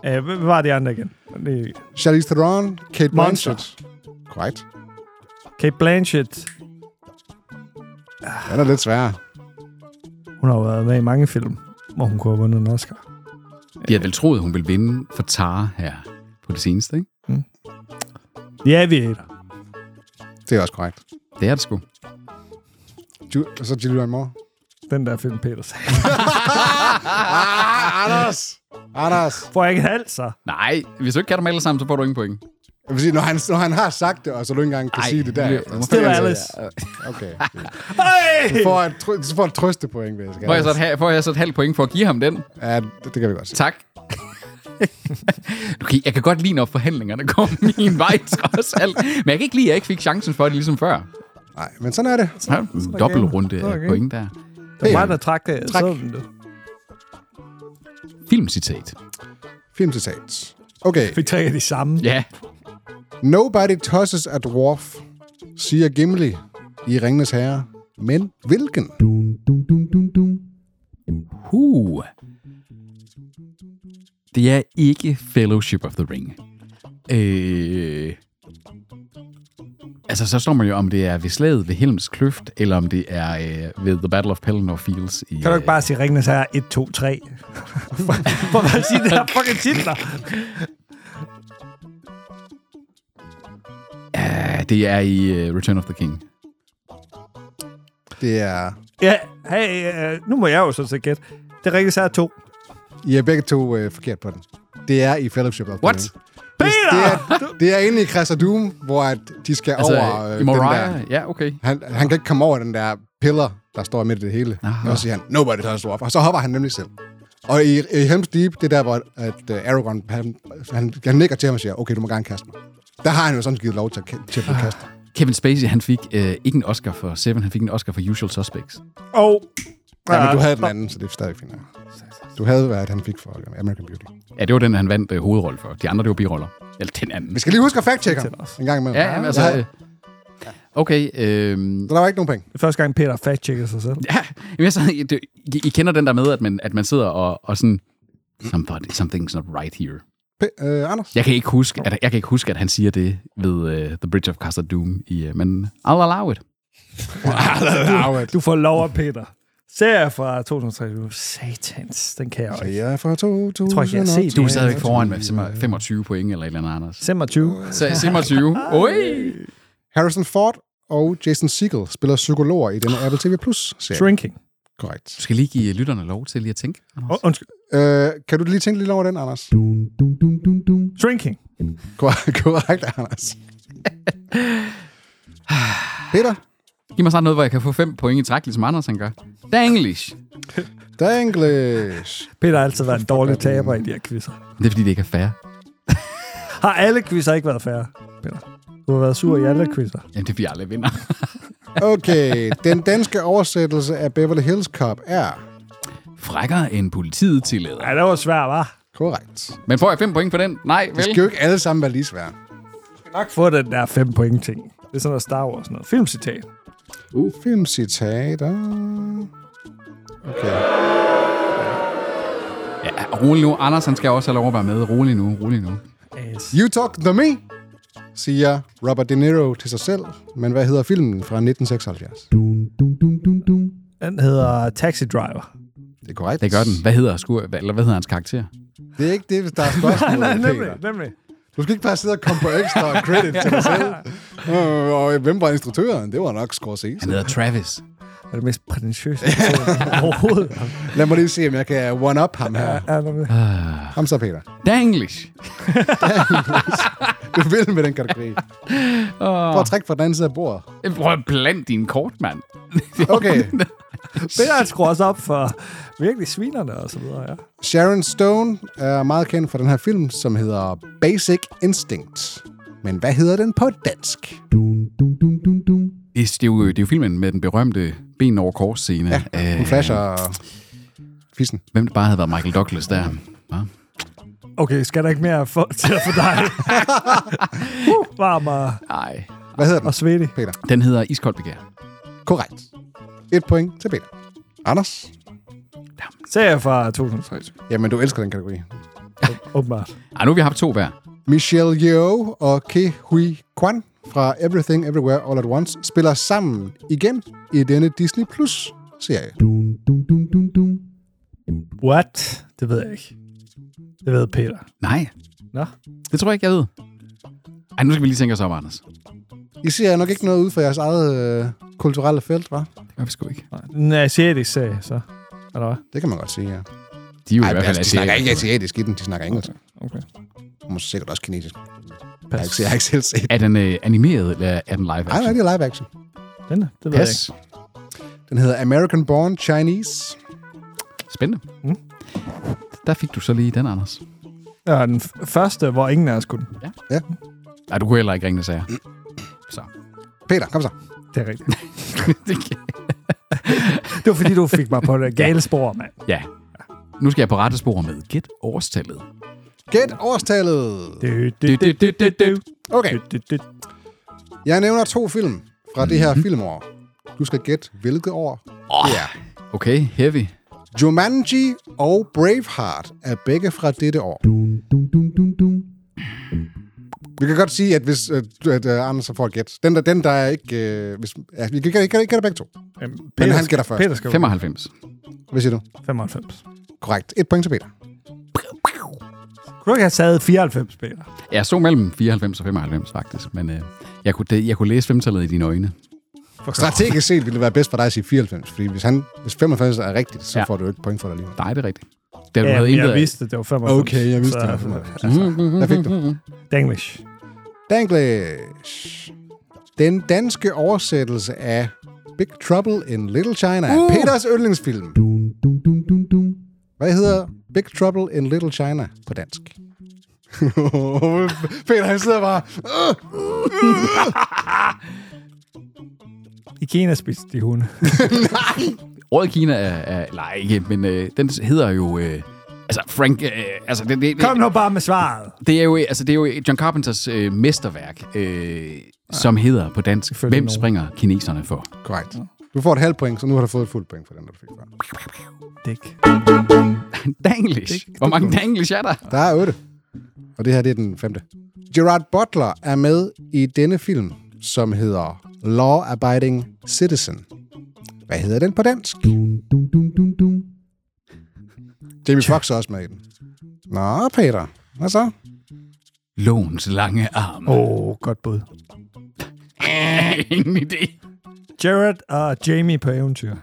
[SPEAKER 5] Øh, hvad var de andre igen? Det er
[SPEAKER 3] Charlize Theron, Kate
[SPEAKER 5] Monster.
[SPEAKER 3] Blanchett. Korrekt.
[SPEAKER 5] Kate Blanchett.
[SPEAKER 3] Den er lidt sværere.
[SPEAKER 5] Hun har jo været med i mange film, hvor hun kunne have vundet en Oscar.
[SPEAKER 4] De havde vel troet, hun ville vinde for Tara her på det seneste, ikke?
[SPEAKER 5] The Aviator.
[SPEAKER 3] Det er også korrekt.
[SPEAKER 4] Det er det sgu.
[SPEAKER 3] Ju- og så Julianne Moore.
[SPEAKER 5] Den der film, Peter sagde.
[SPEAKER 3] Ah, Anders! Anders!
[SPEAKER 5] Får jeg ikke en halv, så?
[SPEAKER 4] Nej, hvis du ikke kan dem alle sammen, så får du ingen point.
[SPEAKER 3] Jeg vil sige, når han, når han har sagt det, og så du ikke engang kan Ej, sige det der.
[SPEAKER 5] Still Alice.
[SPEAKER 3] Okay.
[SPEAKER 5] Hey!
[SPEAKER 3] For at, tr- så får et trøstepoint, vil jeg
[SPEAKER 4] Får jeg, så et, ha- får jeg så et halvt point for at give ham den?
[SPEAKER 3] Ja, det, det kan vi godt sige.
[SPEAKER 4] Tak. okay, jeg kan godt lide, når forhandlingerne kommer min vej, trods alt. Men jeg kan ikke lide, at jeg ikke fik chancen for det, ligesom før.
[SPEAKER 3] Nej, men sådan er det.
[SPEAKER 4] Ja, en dobbeltrunde
[SPEAKER 5] Så er det
[SPEAKER 4] af
[SPEAKER 5] okay.
[SPEAKER 4] point der.
[SPEAKER 5] Det var mig, der trak øh, det.
[SPEAKER 3] Træk.
[SPEAKER 5] Så den det.
[SPEAKER 4] Filmcitat.
[SPEAKER 3] Filmcitat. Okay.
[SPEAKER 5] Fik tre af de samme.
[SPEAKER 4] Ja.
[SPEAKER 3] Nobody tosses a dwarf, siger Gimli i Ringenes Herre. Men hvilken?
[SPEAKER 2] dum dum dum dum dum
[SPEAKER 4] Huh. Det er ikke Fellowship of the Ring. Øh... Altså, så står man jo, om det er ved slaget ved Helms Kløft, eller om det er øh, ved The Battle of Pelennor Fields. I,
[SPEAKER 5] Kan du ikke bare sige Ringnes her 1, 2, 3? For at sige det her fucking titler.
[SPEAKER 4] Øh, det er i øh, Return of the King.
[SPEAKER 3] Det er...
[SPEAKER 5] Ja, hey, øh, nu må jeg jo så set gætte. Det er Ringnes her 2.
[SPEAKER 3] I er begge to øh, forkert på den. Det er i Fellowship of the
[SPEAKER 4] What?
[SPEAKER 3] Ring.
[SPEAKER 5] Peter!
[SPEAKER 3] Det er, det er inde i Crash Doom, hvor at de skal
[SPEAKER 4] Altså,
[SPEAKER 3] over øh, den
[SPEAKER 4] i
[SPEAKER 3] der...
[SPEAKER 4] Moriah? Ja, okay.
[SPEAKER 3] Han, han kan ikke komme over den der piller, der står midt i det hele.
[SPEAKER 4] Aha.
[SPEAKER 3] Aha. Og så siger han, nobody turns off. Og så hopper han nemlig selv. Og i, i Helm's Deep, det er der, hvor at, uh, Aragorn, han, han, han nikker til ham og siger, okay, du må gerne kaste mig. Der har han jo sådan givet lov til at, ka- til at blive kastet.
[SPEAKER 4] Kevin Spacey, han fik øh, ikke en Oscar for Seven, han fik en Oscar for Usual Suspects.
[SPEAKER 5] Og...
[SPEAKER 3] Ja, men du havde den
[SPEAKER 5] Ah.
[SPEAKER 3] anden, så det er stadig fint. nok. Du havde, hvad han fik for øh, American Beauty.
[SPEAKER 4] Ja, det var den, han vandt øh, hovedrolle for. De andre, det var biroller. Eller den anden.
[SPEAKER 3] Vi skal lige huske at fact-checke ham
[SPEAKER 5] Det er også.
[SPEAKER 3] en gang imellem.
[SPEAKER 4] Ja, jamen, altså...
[SPEAKER 3] Ja,
[SPEAKER 4] Øh, okay, øh,
[SPEAKER 3] der var ikke nogen penge.
[SPEAKER 5] Det er første gang, Peter fact-checker sig selv.
[SPEAKER 4] Ja, jamen, jeg sad, det, I, I kender den der med, at man, at man sidder og, og sådan, somebody, something's not right here.
[SPEAKER 3] P- øh, Anders?
[SPEAKER 4] Jeg kan, ikke huske, at, jeg kan ikke huske, at han siger det ved uh, The Bridge of Castle Doom, i, uh, men I'll allow it.
[SPEAKER 3] Arvet.
[SPEAKER 5] Du får lov af Peter. Serie fra 2023. Satans, den kan jeg jo
[SPEAKER 3] Så
[SPEAKER 5] ikke.
[SPEAKER 3] jeg er fra 2000.
[SPEAKER 5] Tror ikke, jeg har set
[SPEAKER 4] Du er
[SPEAKER 5] Ja,
[SPEAKER 4] stadigvæk foran med sim- 25 point eller et eller andet, Anders.
[SPEAKER 5] 25.
[SPEAKER 4] Så 27. Oj!
[SPEAKER 3] Harrison Ford og Jason Segel spiller psykologer i denne Apple TV Plus-serie.
[SPEAKER 5] Shrinking.
[SPEAKER 3] Korrekt.
[SPEAKER 4] Du skal lige give lytterne lov til lige at tænke.
[SPEAKER 5] Oh, undskyld.
[SPEAKER 3] Øh, kan du lige tænke lidt over den, Anders?
[SPEAKER 2] dum dum dum dum dum
[SPEAKER 5] Shrinking.
[SPEAKER 3] Kor- Korrekt, Anders. Peter,
[SPEAKER 4] Giv mig snart noget, hvor jeg kan få 5 point i træk, ligesom Anders han gør. Der er English.
[SPEAKER 3] der er English.
[SPEAKER 5] Peter har altid været en dårlig taber i de her quizzer.
[SPEAKER 4] Det er, fordi det ikke er fair.
[SPEAKER 5] Har alle quizzer ikke været færre, Peter? Du har været sur i alle quizzer.
[SPEAKER 4] Jamen, det er, fordi jeg aldrig vinder.
[SPEAKER 3] Okay, den danske oversættelse af Beverly Hills Cop er
[SPEAKER 4] Frækkere end politiet tillader.
[SPEAKER 5] Ja, det var svært, var.
[SPEAKER 3] korrekt.
[SPEAKER 4] Men får jeg 5 point for den? Nej,
[SPEAKER 3] Det
[SPEAKER 4] vel?
[SPEAKER 3] skal jo ikke alle sammen være lige svære.
[SPEAKER 5] Nok få den der 5 point ting. Det er sådan noget Star Wars noget. Filmcitat.
[SPEAKER 3] Uh. Filmcitater. Okay.
[SPEAKER 4] Ja, rolig nu. Anders, han skal også have lov at være med. Rolig nu, rolig nu.
[SPEAKER 5] As.
[SPEAKER 3] You talk to me, siger Robert De Niro til sig selv. Men hvad hedder filmen fra 1976?
[SPEAKER 2] dum dum dum dum dum
[SPEAKER 5] Den hedder Taxi Driver.
[SPEAKER 3] Det er korrekt.
[SPEAKER 4] Det gør den. Hvad hedder, sku... hvad- eller hvad hedder hans karakter?
[SPEAKER 3] Det er ikke det, der er spørgsmålet, nej, nej, Peter.
[SPEAKER 5] Nemlig, nemlig.
[SPEAKER 3] Du skal ikke bare sidde og komme på ekstra credit til dig selv. Øh, og hvem var instruktøren? Det var nok
[SPEAKER 4] Han
[SPEAKER 3] Scorsese.
[SPEAKER 4] hedder Travis.
[SPEAKER 5] Det er det mest prætentiøse person overhovedet.
[SPEAKER 3] Lad mig lige se, om jeg kan one-up ham her.
[SPEAKER 5] Ja, nemlig.
[SPEAKER 3] Ham så, Peter.
[SPEAKER 4] Der er English.
[SPEAKER 3] Du vil med den kategori. Prøv at trække fra den anden side af bordet.
[SPEAKER 4] Prøv at blande din kort, mand.
[SPEAKER 3] Okay.
[SPEAKER 5] Peter han skruer også op for virkelig svinerne og så videre, ja.
[SPEAKER 3] Sharon Stone er meget kendt for den her film, som hedder Basic Instinct. Men hvad hedder den på dansk?
[SPEAKER 2] dum dum dum dum dum
[SPEAKER 4] Det er, det, er jo, det er jo filmen med den berømte ben over kors scene. Ja,
[SPEAKER 3] Hun flasher fissen.
[SPEAKER 4] Hvem det bare havde været Michael Douglas der. Hva?
[SPEAKER 5] Okay, skal der ikke mere for, til at få dig? uh, varm og,
[SPEAKER 4] Nej.
[SPEAKER 3] Hvad hedder den?
[SPEAKER 5] og svedig.
[SPEAKER 3] Peter.
[SPEAKER 4] Den hedder Iskold Begær.
[SPEAKER 3] Korrekt. Et point til Peter. Anders?
[SPEAKER 5] Serie fra 2003,
[SPEAKER 3] Jamen, du elsker den kategori.
[SPEAKER 5] åbenbart.
[SPEAKER 4] Ej, nu har vi haft to hver.
[SPEAKER 3] Michelle Yeoh og Ke Huy Kwan fra Everything Everywhere All at Once spiller sammen igen i denne Disney Plus-serie.
[SPEAKER 2] dum dum dum dum dum
[SPEAKER 5] What? Det ved jeg ikke. Det ved Peter.
[SPEAKER 4] Nej,
[SPEAKER 5] Nå?
[SPEAKER 4] det tror jeg ikke, jeg ved. Ej, nu skal vi lige tænke os om, Anders.
[SPEAKER 3] I ser nok ikke noget ud for jeres eget øh, kulturelle felt, hva'?
[SPEAKER 4] Det gør vi sgu ikke.
[SPEAKER 5] En asiatisk serie, så. Eller hvad?
[SPEAKER 3] Det kan man godt sige, ja.
[SPEAKER 4] De er jo
[SPEAKER 3] Ej,
[SPEAKER 4] i hvert fald
[SPEAKER 3] altså, de snakker
[SPEAKER 4] asiater.
[SPEAKER 3] ikke asiatisk i den, de snakker engelsk.
[SPEAKER 5] Okay.
[SPEAKER 3] Måske sikkert også kinesisk. Jeg har
[SPEAKER 5] Pas.
[SPEAKER 3] ikke, jeg har ikke selv set.
[SPEAKER 4] Er den øh, animeret, eller er den live
[SPEAKER 3] Nej, nej,
[SPEAKER 4] action?
[SPEAKER 3] det er live action.
[SPEAKER 5] Den, det ved jeg
[SPEAKER 4] Pas.
[SPEAKER 3] Den hedder American Born Chinese.
[SPEAKER 4] Spændende.
[SPEAKER 5] Mm.
[SPEAKER 4] Der fik du så lige den, Anders.
[SPEAKER 5] ikke. Ja, den f- første, hvor ingen af os kunne.
[SPEAKER 4] Nej, du kunne heller ikke ringe sager. Så.
[SPEAKER 3] Peter, kom så.
[SPEAKER 5] Det er rigtigt. Det var fordi, du fik mig på det gale spor, mand.
[SPEAKER 4] ja. Nu skal jeg på rette spor med gæt årstallet.
[SPEAKER 3] Gæt årstallet.
[SPEAKER 5] Det,
[SPEAKER 4] Det, det, det, det, det.
[SPEAKER 3] Okay, jeg nævner to film fra det
[SPEAKER 4] Mhm.
[SPEAKER 3] her filmår. Du skal gætte, hvilket år det er.
[SPEAKER 4] Okay, heavy.
[SPEAKER 3] Jumanji og Braveheart er begge fra dette år.
[SPEAKER 2] dum dum dum dum dum
[SPEAKER 3] Vi kan godt sige, at hvis øh, du- at, øh, Anders får et gæt. Den der, den der er ikke... Øh, hvis, ja, vi kan ikke gætte begge to.
[SPEAKER 5] Peter,
[SPEAKER 3] han gætter først.
[SPEAKER 5] Peter skal
[SPEAKER 4] 95.
[SPEAKER 3] Hvad siger du?
[SPEAKER 5] 95.
[SPEAKER 3] Korrekt. Et point til Peter.
[SPEAKER 5] Kunne du ikke have taget 94, Peter?
[SPEAKER 4] Jeg stod mellem 94 og 95, faktisk. Men øh, jeg, kunne, det, jeg kunne læse femtallet i dine øjne.
[SPEAKER 3] Strategisk set ville det være bedst for dig at sige 94, fordi hvis, han, hvis 95 er rigtigt, så
[SPEAKER 4] Ja.
[SPEAKER 3] ja. får du ikke point for dig lige.
[SPEAKER 4] Nej, det er rigtigt. Det, du havde
[SPEAKER 5] men jeg
[SPEAKER 4] indledet-
[SPEAKER 5] vidste, det var altså, 95.
[SPEAKER 3] Okay, jeg vidste, det Mm. var 95.
[SPEAKER 4] Mm,
[SPEAKER 3] Der fik du.
[SPEAKER 5] Danglish.
[SPEAKER 3] Danglish. Den danske oversættelse af Big Trouble in Little China. Uh. Peters yndlingsfilm.
[SPEAKER 2] dum dum dum dum dum
[SPEAKER 3] Hvad hedder Big Trouble in Little China på dansk? Peter, han sidder bare...
[SPEAKER 5] I Kina spiste de hunde.
[SPEAKER 4] Året i Kina er, er... Nej, ikke, men øh, den hedder jo... Øh, altså, Frank... Øh, altså, det, det,
[SPEAKER 5] Kom nu bare med svaret.
[SPEAKER 4] Det er jo, altså, det er jo John Carpenters øh, mesterværk, øh, som hedder på dansk,
[SPEAKER 5] Selvfølgelig
[SPEAKER 4] Hvem
[SPEAKER 5] nogen.
[SPEAKER 4] springer kineserne for?
[SPEAKER 3] Korrekt. Du får et halvt point, så nu har du fået et fuldt point for den, der du fik før.
[SPEAKER 5] Dæk.
[SPEAKER 4] Danglish. Hvor mange danglish er der?
[SPEAKER 3] Der er otte. Og det her, det er den femte. Gerard Butler er med i denne film, som hedder Law Abiding Citizen. Hvad hedder den på dansk?
[SPEAKER 2] dum dum dum dum dum
[SPEAKER 3] Jamie Foxx er også med i den. Nå, Peter. Hvad så?
[SPEAKER 4] Låns lange arm. Oh.
[SPEAKER 5] Åh, oh, godt bud.
[SPEAKER 4] Ingen idé.
[SPEAKER 5] Jared og Jamie på eventyr.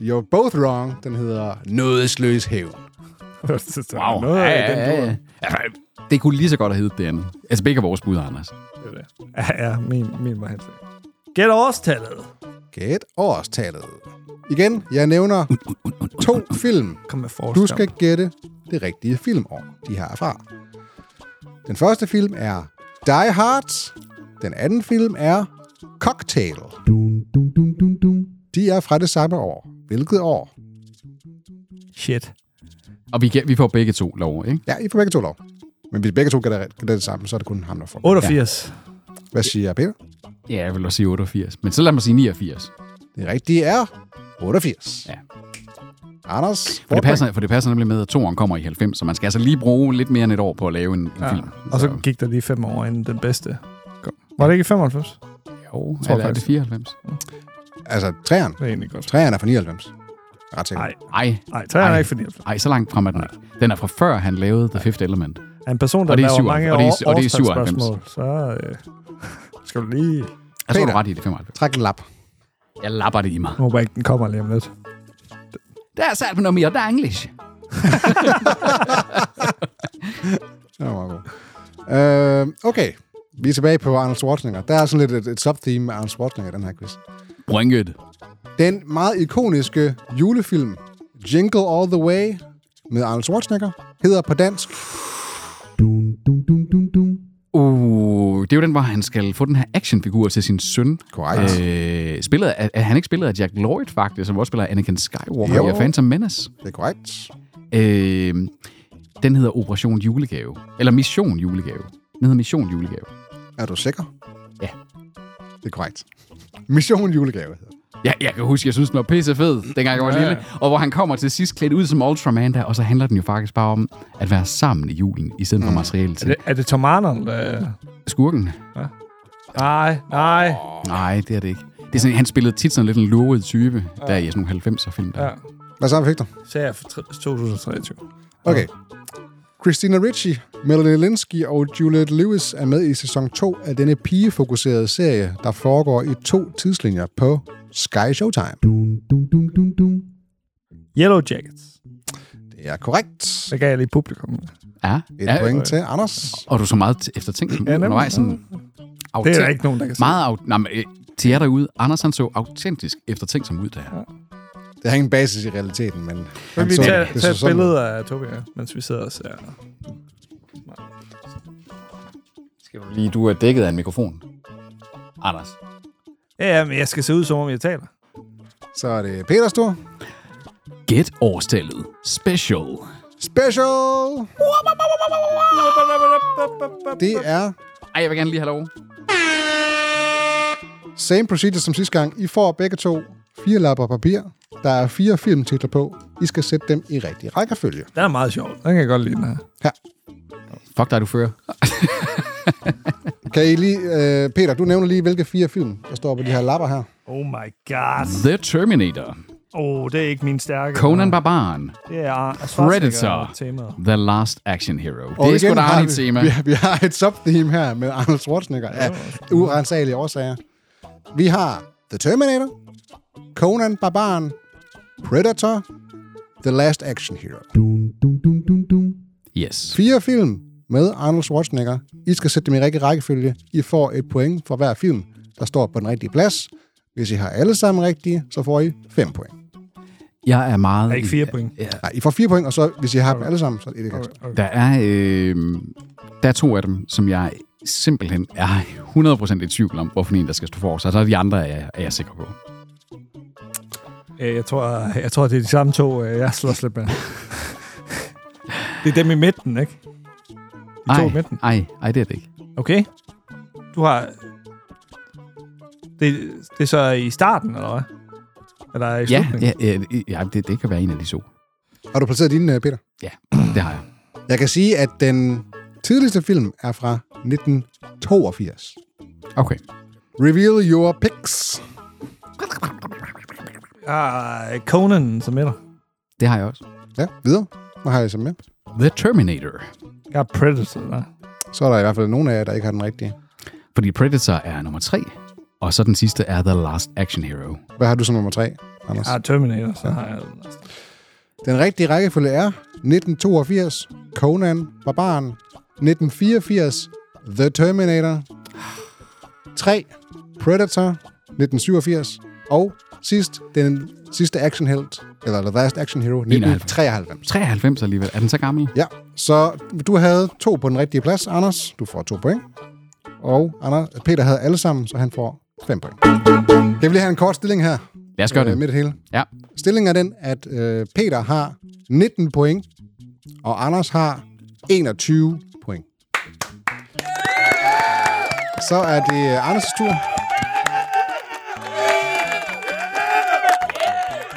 [SPEAKER 3] You're both wrong. Den hedder Nådesløs hævn.
[SPEAKER 4] Wow.
[SPEAKER 5] Noget af den dur.
[SPEAKER 4] ja. Altså, Det kunne lige så godt have heddet det andet. Altså begge af vores bud, Anders.
[SPEAKER 5] Ja, ja, min, min var helt sikkert. Gæt årstallet.
[SPEAKER 3] Gæt årstallet. Igen, jeg nævner to film.
[SPEAKER 5] Kom med forslag.
[SPEAKER 3] Du skal gætte det rigtige filmår, de har fra. Den første film er Die Hard. Den anden film er Cocktail.
[SPEAKER 2] dum dum dum dum dum
[SPEAKER 3] De er fra det samme år. Hvilket år?
[SPEAKER 5] Shit.
[SPEAKER 4] Og vi, kan- vi får begge to lov, ikke?
[SPEAKER 3] Ja, I får begge to lov. Men hvis begge to gætter gætter det samme, så er det kun ham, der får.
[SPEAKER 5] 88.
[SPEAKER 3] Hvad siger Peter?
[SPEAKER 4] Ja, jeg vil også sige 88. Men så lad mig sige 89.
[SPEAKER 3] Det rigtige er 88.
[SPEAKER 4] Ja.
[SPEAKER 3] Anders,
[SPEAKER 4] For det,
[SPEAKER 3] fortbring.
[SPEAKER 4] passer, for det passer nemlig med, at toeren kommer i 90, så man skal altså lige bruge lidt mere end et år på at lave en, en ja. film.
[SPEAKER 5] Og så gik der lige fem år inden den bedste. Kom. Var det ikke i 95?
[SPEAKER 4] jo,
[SPEAKER 5] tror
[SPEAKER 4] eller er det
[SPEAKER 5] faktisk-
[SPEAKER 4] 94?
[SPEAKER 3] Altså, træerne.
[SPEAKER 5] Det er egentlig godt.
[SPEAKER 3] Træerne er fra 99. Ret sikkert.
[SPEAKER 5] Nej,
[SPEAKER 4] Ej,
[SPEAKER 5] nej, træerne er
[SPEAKER 4] Ej.
[SPEAKER 5] ikke for 99.
[SPEAKER 4] Ej, så langt frem er den ikke. Den er fra før, han lavede The Fifth Element.
[SPEAKER 5] Er en person, der
[SPEAKER 4] Og det er
[SPEAKER 5] laver
[SPEAKER 4] 97,
[SPEAKER 5] mange
[SPEAKER 4] og det er-
[SPEAKER 5] år-
[SPEAKER 4] og det er 97.
[SPEAKER 5] årstalsspørgsmål, så øh, skal du lige...
[SPEAKER 4] Jeg tror, du
[SPEAKER 3] Peter.
[SPEAKER 4] har ret i det 95.
[SPEAKER 3] Træk en lap.
[SPEAKER 4] Jeg lapper det i mig.
[SPEAKER 5] Jeg håber ikke, den kommer lige om lidt.
[SPEAKER 4] Der er sat på noget mere, der er engelsk.
[SPEAKER 3] Det var meget godt. Øh, okay, vi er tilbage på Arnold Schwarzenegger. Der er sådan lidt et, et subtheme med Arnold Schwarzenegger i den her quiz.
[SPEAKER 4] Brynket.
[SPEAKER 3] Den meget ikoniske julefilm Jingle All The Way med Arnold Schwarzenegger hedder på dansk
[SPEAKER 2] dum dum dum dum dum
[SPEAKER 4] Uh, det er jo den, hvor han skal få den her actionfigur til sin søn.
[SPEAKER 3] Korrekt.
[SPEAKER 4] Øh, spillet af, er han ikke spillet af Jack Lloyd, faktisk, som også spiller Anakin Skywalker
[SPEAKER 3] Jo.
[SPEAKER 4] jo. i A Phantom Menace.
[SPEAKER 3] Det er korrekt.
[SPEAKER 4] Øh, den hedder Operation Julegave. Eller Mission Julegave. Den hedder Mission Julegave.
[SPEAKER 3] Er du sikker?
[SPEAKER 4] Ja.
[SPEAKER 3] Det er korrekt. Mission julegave hedder den.
[SPEAKER 4] Ja, jeg kan huske, jeg synes, den var pisse fed, dengang jeg var lille. Og hvor han kommer til sidst klædt ud som Ultraman der, og så handler den jo faktisk bare om at være sammen i julen, i stedet for materiale
[SPEAKER 5] Er
[SPEAKER 4] til
[SPEAKER 5] det, er det Tom Arnold? Øh?
[SPEAKER 4] skurken.
[SPEAKER 5] Nej, nej.
[SPEAKER 4] Nej, det er det ikke. Det er sådan, han spillede tit sådan lidt en lurvet type, ja. der i sådan nogle 90'er film. Der.
[SPEAKER 5] Ja.
[SPEAKER 4] Ja.
[SPEAKER 3] Hvad så, Victor?
[SPEAKER 5] Sagde jeg for tre- 2023.
[SPEAKER 3] Okay. Christina Ricci, Melanie Linsky og Juliette Lewis er med i sæson 2 af denne pigefokuserede serie, der foregår i to tidslinjer på Sky Showtime.
[SPEAKER 2] dum dum dum dum dum
[SPEAKER 5] Yellow Jackets.
[SPEAKER 3] Det er korrekt.
[SPEAKER 5] Det gav jeg lige publikum.
[SPEAKER 4] ja.
[SPEAKER 3] Et
[SPEAKER 4] ja.
[SPEAKER 3] point til Anders.
[SPEAKER 4] Og du så meget t- eftertænkt ja,
[SPEAKER 5] nemlig.
[SPEAKER 4] undervejs. Sådan,
[SPEAKER 5] Det er
[SPEAKER 4] autent-
[SPEAKER 5] der ikke nogen, der kan sige.
[SPEAKER 4] Meget af, nej, men, øh, til jer derude, Anders han så autentisk eftertænkt som ud der. Ja.
[SPEAKER 3] Det har ingen basis i realiteten, men...
[SPEAKER 5] Kan
[SPEAKER 3] han
[SPEAKER 5] vi
[SPEAKER 3] så-
[SPEAKER 5] lige tage,
[SPEAKER 3] det så
[SPEAKER 5] tage et
[SPEAKER 3] sådan ud.
[SPEAKER 5] billede af Tobi, her, mens vi sidder og ser?
[SPEAKER 4] Lige du er dækket af en mikrofon. Anders.
[SPEAKER 5] Ja, ja, men jeg skal se ud, som om jeg taler.
[SPEAKER 3] Så er det Peter Stor.
[SPEAKER 4] Gæt årstallet. Special.
[SPEAKER 3] Special! Det er
[SPEAKER 4] Ej, jeg vil gerne lige have lov.
[SPEAKER 3] same procedure som sidste gang. I får begge to fire lapper papir. Der er fire filmtitler på. I skal sætte dem i rigtig rækkefølge.
[SPEAKER 5] Den er meget sjov. Den kan jeg godt lide, den her.
[SPEAKER 4] Fuck dig, du fører.
[SPEAKER 3] Kan I lige... Øh, Peter, du nævner lige, hvilke fire film, der står på de her lapper her.
[SPEAKER 5] Oh my god.
[SPEAKER 4] The Terminator.
[SPEAKER 5] Oh, det er ikke min stærke.
[SPEAKER 4] Conan Barbaren.
[SPEAKER 5] Det er
[SPEAKER 4] Predator.
[SPEAKER 5] Temaet.
[SPEAKER 4] The Last Action Hero. det er sgu da
[SPEAKER 3] har
[SPEAKER 4] Arnie
[SPEAKER 3] vi,
[SPEAKER 4] tema.
[SPEAKER 3] Vi, vi har et subtheme her med Arnold Schwarzenegger af urensagelige årsager. Vi har The Terminator, Conan Barbaren, Predator, The Last Action Hero.
[SPEAKER 2] dum dum dum dum dum
[SPEAKER 4] Yes.
[SPEAKER 3] Fire film med Arnold Schwarzenegger. I skal sætte dem i rigtig rækkefølge. I får et point for hver film, der står på den rigtige plads. Hvis I har alle sammen rigtige, så får I 5 point.
[SPEAKER 4] Jeg er meget...
[SPEAKER 5] Er ikke fire point.
[SPEAKER 4] Ja,
[SPEAKER 3] Nej, I får 4 point, og så hvis I har dem alle sammen, så er det et ekstra.
[SPEAKER 5] Okay, okay.
[SPEAKER 4] Der er, øh, der er to af dem, som jeg simpelthen er 100% i tvivl om, hvorfor en, der skal stå for. Så er de andre, er jeg, er jeg sikker på.
[SPEAKER 5] Øh, Jeg tror, jeg tror, det er de samme to, øh, jeg slås lidt med. det er dem i midten, ikke? De to i
[SPEAKER 4] Ej,
[SPEAKER 5] midten.
[SPEAKER 4] ej, ej, det er det ikke.
[SPEAKER 5] Okay. Du har... Det, det er så i starten, eller hvad? Eller i
[SPEAKER 4] Ja,
[SPEAKER 5] slutningen?
[SPEAKER 4] ja, ja, ja det, det kan være en af de to.
[SPEAKER 3] Har du placeret dine, øh, Peter?
[SPEAKER 4] Ja, det har jeg.
[SPEAKER 3] Jeg kan sige, at den tidligste film er fra 1982.
[SPEAKER 4] Okay.
[SPEAKER 3] Reveal your picks.
[SPEAKER 5] Jeg har øh, Conan som etter.
[SPEAKER 4] Det har jeg også.
[SPEAKER 3] Ja, videre. Hvad har jeg så med?
[SPEAKER 4] The Terminator.
[SPEAKER 5] Jeg har Predator. Der.
[SPEAKER 3] Så er der i hvert fald nogen af jer, der ikke har den rigtige.
[SPEAKER 4] Fordi Predator er nummer tre, og så den sidste er The Last Action Hero.
[SPEAKER 3] Hvad har du som nummer tre, Anders?
[SPEAKER 5] Jeg har Terminator, så har jeg...
[SPEAKER 3] Den rigtige rækkefølge er 1982, Conan, Barbaren, 1984, The Terminator, 3, Predator, 1987, og sidst, den sidste actionhelt, eller The Last Action Hero, 1993.
[SPEAKER 4] 93 alligevel. Er den så gammel?
[SPEAKER 3] Ja, så du havde to på den rigtige plads, Anders. Du får to point. Og Anders, Peter havde alle sammen, så han får fem point. Jeg vil have en kort stilling her.
[SPEAKER 4] Lad os gøre
[SPEAKER 3] øh, Midt
[SPEAKER 4] det.
[SPEAKER 3] i det hele.
[SPEAKER 4] Ja.
[SPEAKER 3] Stillingen er den, at øh, Peter har 19 point, og Anders har 21 point. Så er det øh, Anders' tur.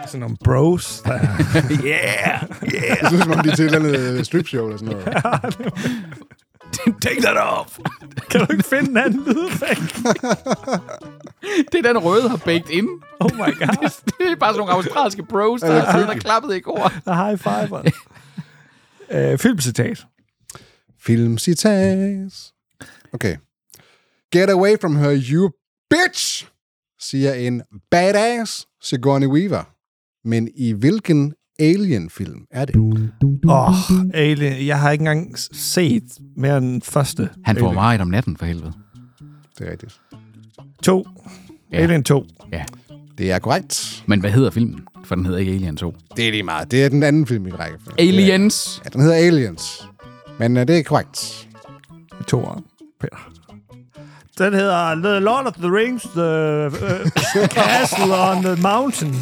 [SPEAKER 5] Sådan nogle bros. Der.
[SPEAKER 1] Yeah!
[SPEAKER 3] Det synes, som om de er til et eller andet øh, stripshow eller sådan noget.
[SPEAKER 1] Take that off!
[SPEAKER 5] kan du ikke finde en anden lydeffekt?
[SPEAKER 4] Det er den røde har baked ind.
[SPEAKER 5] Oh my god.
[SPEAKER 4] Det er bare sådan nogle australske bros, der har siddet og klappet i går.
[SPEAKER 5] Der high fiver. øh, filmcitat.
[SPEAKER 3] Filmcitat. Okay. Get away from her, you bitch, siger en badass Sigourney Weaver. Men i hvilken Alien-film er det?
[SPEAKER 5] Åh, oh, Alien. Jeg har ikke engang s- set mere end den første.
[SPEAKER 4] Han får
[SPEAKER 5] Alien.
[SPEAKER 4] meget om natten, for helvede.
[SPEAKER 3] Det er rigtigt.
[SPEAKER 5] To.
[SPEAKER 4] Ja.
[SPEAKER 5] Alien 2.
[SPEAKER 4] Ja.
[SPEAKER 3] Det er korrekt.
[SPEAKER 4] Men hvad hedder filmen? For den hedder ikke Alien 2.
[SPEAKER 3] Det er lige meget. Det er den anden film i rækken.
[SPEAKER 4] Aliens!
[SPEAKER 3] Ja, den hedder Aliens. Men uh, det er korrekt.
[SPEAKER 5] To år, Peter. Den hedder The Lord of the Rings, The uh, Castle on the Mountain.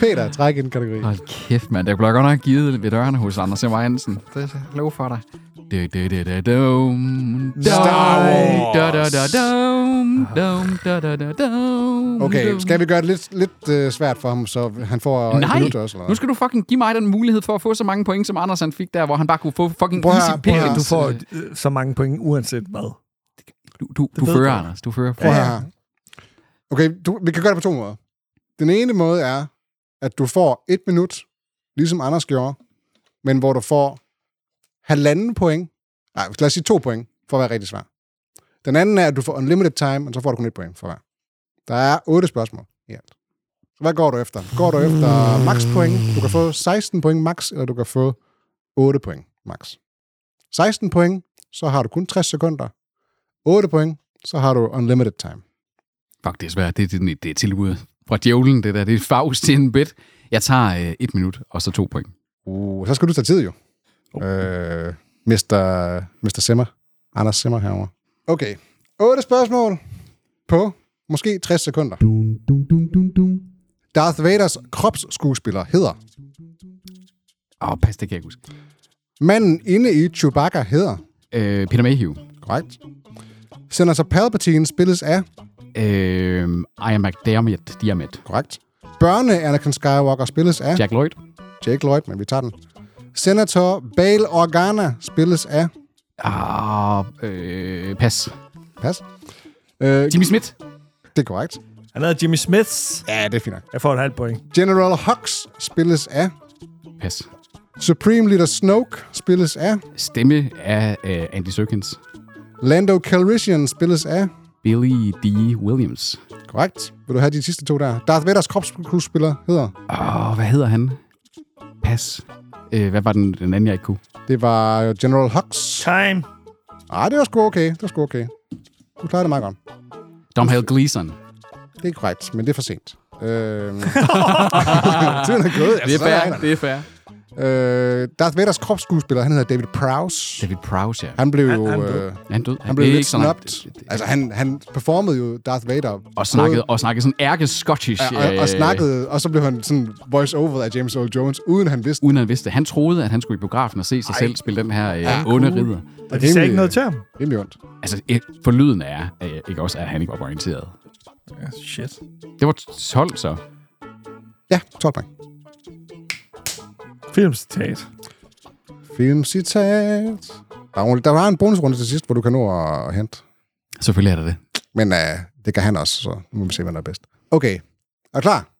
[SPEAKER 3] Peter, træk en kategori.
[SPEAKER 4] Hold kæft, mand. Der bliver godt nok givet ved dørene hos Anders Emmer Hansen. Det er lov for dig. Du, du, du, du, dum, dum,
[SPEAKER 3] Star
[SPEAKER 1] Wars.
[SPEAKER 4] Da, da, da, dum, dum, da, da, da, dum,
[SPEAKER 3] Okay,
[SPEAKER 4] dum.
[SPEAKER 3] skal vi gøre det lidt, lidt uh, svært for ham, så han får
[SPEAKER 4] Nej,
[SPEAKER 3] en minut også? Eller? hvad?
[SPEAKER 4] nu skal du fucking give mig den mulighed for at få så mange point, som Anders han fik der, hvor han bare kunne få fucking
[SPEAKER 3] Prøv at-
[SPEAKER 4] easy
[SPEAKER 3] prøv at-
[SPEAKER 4] pickings.
[SPEAKER 5] Du får øh, så mange point, uanset hvad.
[SPEAKER 4] Du, du, du
[SPEAKER 5] ved
[SPEAKER 4] fører,
[SPEAKER 5] du.
[SPEAKER 4] Anders. Du fører.
[SPEAKER 3] Prøv ja. her. Okay, du, vi kan gøre det på to måder. Den ene måde er, at du får et minut, ligesom Anders gjorde, men hvor du får halvanden point. Nej, lad os sige to point, for at være rigtig svar. Den anden er, at du får unlimited time, og så får du kun et point for hver. Der er otte spørgsmål i alt. Så hvad går du efter? Går du efter max point? Du kan få 16 point max, eller du kan få 8 point max. 16 point, så har du kun 60 sekunder. 8 point, så har du unlimited time.
[SPEAKER 4] Fuck, det er svært. Det, det, det er tilbuddet fra djævlen, det der. Det er faust til en bit. Jeg tager øh, et minut, og så to point.
[SPEAKER 3] Uh, så skal du tage tid jo. Oh. Øh, Mr. Mr. Simmer. Anders Simmer herover. Okay. 8 spørgsmål på måske 60 sekunder.
[SPEAKER 2] Dum, dum, dum, dum, dum.
[SPEAKER 3] Darth Vaders kropsskuespiller hedder.
[SPEAKER 4] Åh, oh, pas, det kan jeg ikke huske.
[SPEAKER 3] Manden inde i Chewbacca hedder.
[SPEAKER 4] Øh, Peter Mayhew.
[SPEAKER 3] Korrekt. Senator Palpatine spilles af.
[SPEAKER 4] Øh, Ian McDermott. Diamond.
[SPEAKER 3] Korrekt. Børne Anakin Skywalker spilles af. Jack.
[SPEAKER 4] Jack Lloyd.
[SPEAKER 3] Jake Lloyd, men vi tager den. Senator Bail Organa spilles af.
[SPEAKER 4] Ah, øh, pas.
[SPEAKER 3] Pas. Øh,
[SPEAKER 4] Jimmy Smith.
[SPEAKER 3] det er korrekt.
[SPEAKER 5] Han hedder Jimmy Smiths.
[SPEAKER 3] Ja, det er fint nok.
[SPEAKER 5] Jeg får et halvt point.
[SPEAKER 3] General Hux spilles af.
[SPEAKER 4] Pas.
[SPEAKER 3] Supreme Leader Snoke spilles af.
[SPEAKER 4] Stemme af øh, Andy Serkins.
[SPEAKER 3] Lando Calrissian spilles af.
[SPEAKER 4] Billy D. Williams.
[SPEAKER 3] Korrekt. Vil du have de sidste to der? Darth Vaders kropsskuespiller hedder.
[SPEAKER 4] Åh, oh, hvad hedder han? Pas. Øh, hvad var den, den anden, jeg ikke kunne?
[SPEAKER 3] Det var jo General Hux.
[SPEAKER 5] Time.
[SPEAKER 3] Ah, det var sgu okay. Det var sgu okay. Du klarede det meget godt.
[SPEAKER 4] Domhnall Gleeson.
[SPEAKER 3] Det er korrekt, men det er for sent. Øh, tiden er gået.
[SPEAKER 4] Det er
[SPEAKER 3] Altså, så
[SPEAKER 4] fair,
[SPEAKER 3] er
[SPEAKER 4] det er fair.
[SPEAKER 3] det. Øh, Darth Vaders kropsskuespiller, han hedder David Prowse.
[SPEAKER 4] David Prowse, ja.
[SPEAKER 3] Han blev jo...
[SPEAKER 5] Han- han blev-
[SPEAKER 3] øh,
[SPEAKER 4] Er Han død.
[SPEAKER 3] han blev
[SPEAKER 4] Det er
[SPEAKER 3] lidt
[SPEAKER 4] ikke sådan,
[SPEAKER 3] snobt.
[SPEAKER 4] det- det-
[SPEAKER 3] Altså, han, han performede jo Darth Vader.
[SPEAKER 4] Og snakkede, og snakkede sådan ærke-scottish.
[SPEAKER 3] Ja, og, og
[SPEAKER 4] øh,
[SPEAKER 3] snakkede, og så blev han sådan voice-over af James Earl Jones, uden han vidste.
[SPEAKER 4] Uden at han vidste det. Han troede, at han skulle i biografen og se sig selv spille den her øh, onde ridder.
[SPEAKER 5] Og de sagde
[SPEAKER 3] rimelig-
[SPEAKER 5] ikke noget til ham.
[SPEAKER 3] Rimelig ondt.
[SPEAKER 4] Altså, et, forlyden er, øh, ikke også, at han ikke var orienteret.
[SPEAKER 5] Ja, shit.
[SPEAKER 4] Det var 12, så.
[SPEAKER 3] Ja, 12 point.
[SPEAKER 5] Filmcitat.
[SPEAKER 3] Filmcitat. Der var, der var en bonusrunde til sidst, hvor du kan nå at hente.
[SPEAKER 4] Selvfølgelig er der det.
[SPEAKER 3] Men øh, det kan han også, så nu må vi se, hvad der er bedst. Okay, er du klar?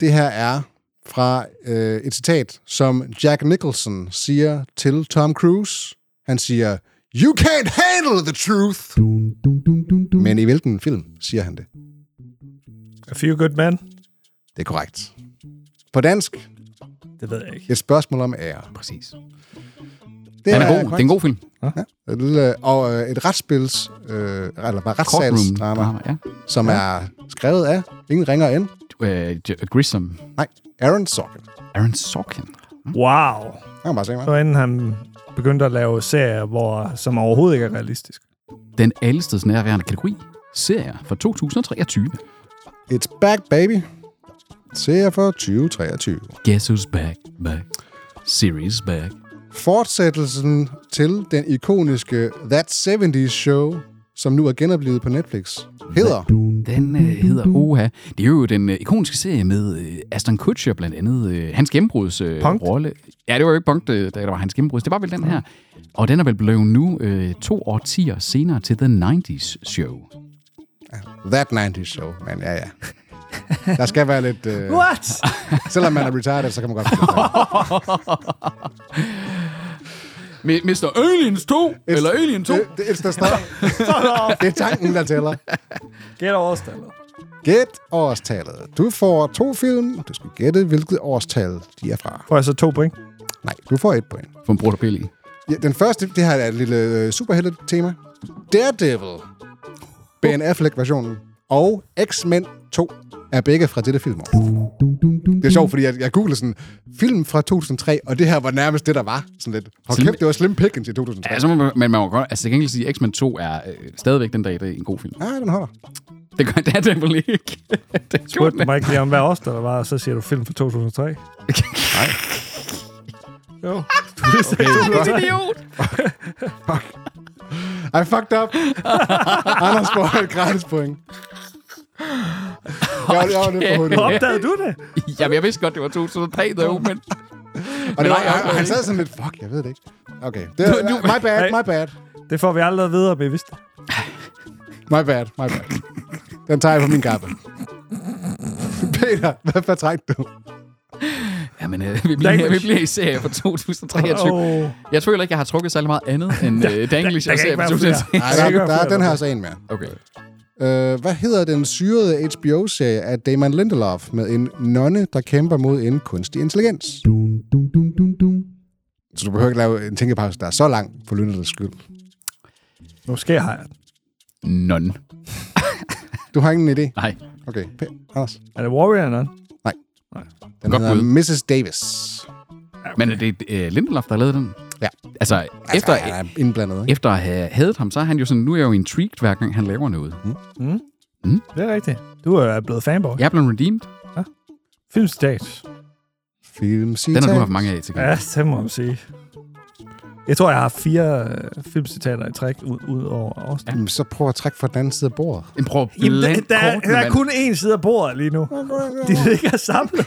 [SPEAKER 3] Det her er fra øh, et citat, som Jack Nicholson siger til Tom Cruise. Han siger, You can't handle the truth!
[SPEAKER 2] dum dum dum dum dum
[SPEAKER 3] Men i hvilken film siger han det?
[SPEAKER 5] A Few Good Men.
[SPEAKER 3] Det er korrekt. På dansk,
[SPEAKER 5] Det ved jeg ikke.
[SPEAKER 3] et spørgsmål om ære.
[SPEAKER 4] Præcis.
[SPEAKER 3] Det
[SPEAKER 4] Han er god. Det
[SPEAKER 3] korrekt.
[SPEAKER 4] er en god film.
[SPEAKER 3] Et lille, og øh, et retsspils, øh, eller bare
[SPEAKER 4] Courtroom-drama.
[SPEAKER 3] retssalsdrama,
[SPEAKER 4] Ja.
[SPEAKER 3] som er skrevet af ingen ringer end.
[SPEAKER 4] Øh, J- Grissom.
[SPEAKER 3] Nej, Aaron Sorkin.
[SPEAKER 4] Aaron Sorkin.
[SPEAKER 5] Wow.
[SPEAKER 3] Han kan bare se mig.
[SPEAKER 5] Så inden han begyndte at lave serier, hvor, som overhovedet ikke er realistisk.
[SPEAKER 4] Den allesteds nærværende kategori. Serier fra 2023.
[SPEAKER 3] It's back, baby. Ser for 2023.
[SPEAKER 4] Guess who's back, back. Series back.
[SPEAKER 3] Fortsættelsen til den ikoniske That 70's Show, som nu er genoplevet på Netflix, hedder...
[SPEAKER 2] dum
[SPEAKER 4] Den øh, hedder Oha. Det er jo den øh, ikoniske serie med øh, Aston Kutcher blandt andet. Øh, hans gennembruds øh,
[SPEAKER 5] Punk'd?
[SPEAKER 4] rolle. Ja, det var jo ikke Punkt, øh, da det var hans gennembruds. Det var vel den her. Og den er vel blevet nu øh, to årtier senere til The 90's Show.
[SPEAKER 3] That 90's Show. Men ja, ja. Der skal være lidt... Øh,
[SPEAKER 5] What?
[SPEAKER 3] selvom man er retired, så kan man godt...
[SPEAKER 4] Mi- Mr. Aliens 2, eller Alien 2.
[SPEAKER 3] Det, det, it's the star. det er tanken, der tæller.
[SPEAKER 5] Get overstallet.
[SPEAKER 3] Gæt årstallet. Du får to film, og du skal gætte, hvilket årstal de er fra.
[SPEAKER 5] Får jeg så to point?
[SPEAKER 3] Nej, du får et point.
[SPEAKER 4] Få en bror, der pille i.
[SPEAKER 3] Ja, den første, det her er et lille øh, superhelte-tema. Daredevil. Ben Affleck-versionen. Og X-Men 2 er begge fra dette filmår.
[SPEAKER 2] dum dum dum
[SPEAKER 3] Det er sjovt, fordi jeg, jeg googlede sådan, film fra 2003, og det her var nærmest det, der var. Sådan lidt, hold
[SPEAKER 4] Slim-
[SPEAKER 3] kæft, det var Slim Pickens i 2003.
[SPEAKER 4] Ja, så må man, men man må godt, altså til gengæld sige, at X-Men 2 er øh, stadigvæk den dag, det er en god film.
[SPEAKER 3] Nej, den holder.
[SPEAKER 4] Det gør Daredevil ikke. det gjorde
[SPEAKER 5] Spurgte
[SPEAKER 4] den.
[SPEAKER 5] du mig ikke lige om, hvad også der var, og så siger du film fra 2003. Nej. Jo. Du er okay.
[SPEAKER 4] Idiot!
[SPEAKER 3] I fucked up. Anders får et gratis point. Jeg var, jeg var lidt for hurtig.
[SPEAKER 5] Opdagede du det?
[SPEAKER 4] Jamen, jeg vidste godt, det var 2003, though, men...
[SPEAKER 3] Og det var,
[SPEAKER 4] Nej, jeg
[SPEAKER 3] han,
[SPEAKER 4] opdagede
[SPEAKER 3] han
[SPEAKER 4] ikke.
[SPEAKER 3] sad sådan lidt, fuck, jeg ved det ikke. Okay, det, er-
[SPEAKER 4] Nu- nu-
[SPEAKER 3] my bad,
[SPEAKER 5] Nej.
[SPEAKER 3] my bad,
[SPEAKER 5] Det får vi aldrig videre bevidst.
[SPEAKER 3] my bad, my bad. Den tager jeg på min kappe. Peter, hvad for træk du?
[SPEAKER 4] Jamen, øh, vi, bliver, vi bliver i serie fra 2023. Oh.
[SPEAKER 5] Åh.
[SPEAKER 4] Jeg føler ikke, jeg har trukket særlig meget andet end øh, Danglish
[SPEAKER 5] der
[SPEAKER 4] og
[SPEAKER 5] kan
[SPEAKER 4] serie
[SPEAKER 5] ikke
[SPEAKER 4] fra
[SPEAKER 5] være
[SPEAKER 4] 2023.
[SPEAKER 3] Nej,
[SPEAKER 5] Jeg skal ikke
[SPEAKER 3] der,
[SPEAKER 5] være
[SPEAKER 3] der er
[SPEAKER 5] flere,
[SPEAKER 3] den her
[SPEAKER 5] der-
[SPEAKER 3] så en mere.
[SPEAKER 4] Okay.
[SPEAKER 3] Øh, hvad hedder den syrede HBO-serie af Damon Lindelof med en nonne, der kæmper mod en kunstig intelligens?
[SPEAKER 2] dum dum dum dum dum
[SPEAKER 3] Så du behøver ikke lave en tænkepause, der er så lang for Lindelofs skyld.
[SPEAKER 5] Måske har jeg den.
[SPEAKER 4] None.
[SPEAKER 3] Du har ingen idé?
[SPEAKER 4] Nej.
[SPEAKER 3] Okay, P- Anders.
[SPEAKER 5] Er det Warrior eller noget?
[SPEAKER 3] Den
[SPEAKER 4] Godt
[SPEAKER 3] hedder
[SPEAKER 4] bud.
[SPEAKER 3] Mrs. Davis.
[SPEAKER 4] Men er det øh, Lindelof, der har lavet den?
[SPEAKER 3] Ja.
[SPEAKER 4] Altså,
[SPEAKER 3] Altså,
[SPEAKER 4] efter,
[SPEAKER 3] han er indblandet, ikke?
[SPEAKER 4] efter at have hadet ham, så er han jo sådan, nu er jeg jo intrigued, hver gang han laver noget.
[SPEAKER 5] Det er rigtigt. Du er blevet fanboy.
[SPEAKER 4] Jeg er blevet redeemed.
[SPEAKER 5] Filmstat.
[SPEAKER 4] Den
[SPEAKER 3] Filmcitat.
[SPEAKER 4] har du haft mange af til gengæld.
[SPEAKER 5] Ja, det må man sige. Jeg tror, jeg har fire øh, filmcitater i træk ud, ud over Austin.
[SPEAKER 3] Jamen, så prøv at trække fra den anden side af bordet.
[SPEAKER 4] Jamen, prøv at blande
[SPEAKER 5] der, er,
[SPEAKER 4] kortene,
[SPEAKER 5] der er
[SPEAKER 4] mand.
[SPEAKER 5] kun én side af bordet lige nu. De ligger samlet.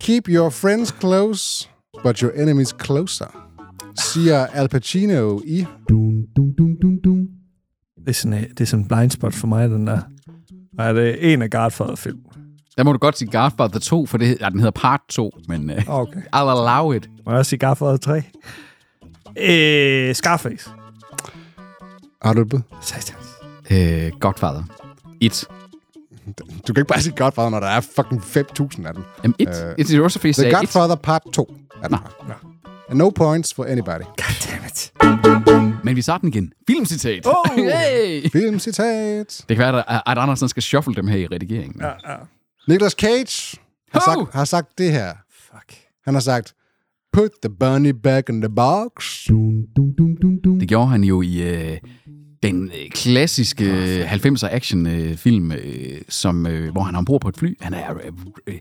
[SPEAKER 3] Keep your friends close, but your enemies closer, siger Al Pacino i...
[SPEAKER 2] dum dum dum dum dum
[SPEAKER 5] Det er sådan, øh, det er sådan en blind spot for mig, den der. Nej, det er en af Godfather-film.
[SPEAKER 4] Der må du godt sige Godfather 2, for det, ja, den hedder Part 2, men uh,
[SPEAKER 5] Okay.
[SPEAKER 4] I'll allow it.
[SPEAKER 5] Må jeg også sige Godfather 3? Øh, Scarface.
[SPEAKER 3] Har du et bud?
[SPEAKER 5] Satans.
[SPEAKER 4] Uh, Godfather. 1.
[SPEAKER 3] Du kan ikke bare sige Godfather, når der er fucking 5.000 af dem.
[SPEAKER 4] Jamen, 1.
[SPEAKER 3] Øh,
[SPEAKER 4] Uh, også fordi jeg
[SPEAKER 3] The
[SPEAKER 4] sagde 1.
[SPEAKER 3] Godfather Part 2 er den her. And no points for anybody.
[SPEAKER 5] Goddammit.
[SPEAKER 4] Men vi starter den igen. Filmcitat.
[SPEAKER 5] Oh!
[SPEAKER 4] Hey!
[SPEAKER 3] Filmcitat.
[SPEAKER 4] Det kan være, at Art Andersen skal shuffle dem her i redigeringen. Ja.
[SPEAKER 3] Nicolas Cage har
[SPEAKER 4] Ho!
[SPEAKER 3] sagt, har sagt det her.
[SPEAKER 5] Fuck.
[SPEAKER 3] Han har sagt, put the bunny back in the box.
[SPEAKER 2] dum, dum, dum, dum, dum.
[SPEAKER 4] Det gjorde han jo i øh, den øh, klassiske øh, 90'er actionfilm, øh, film, øh, som, øh, hvor han er ombord på et fly. Han er, øh, øh,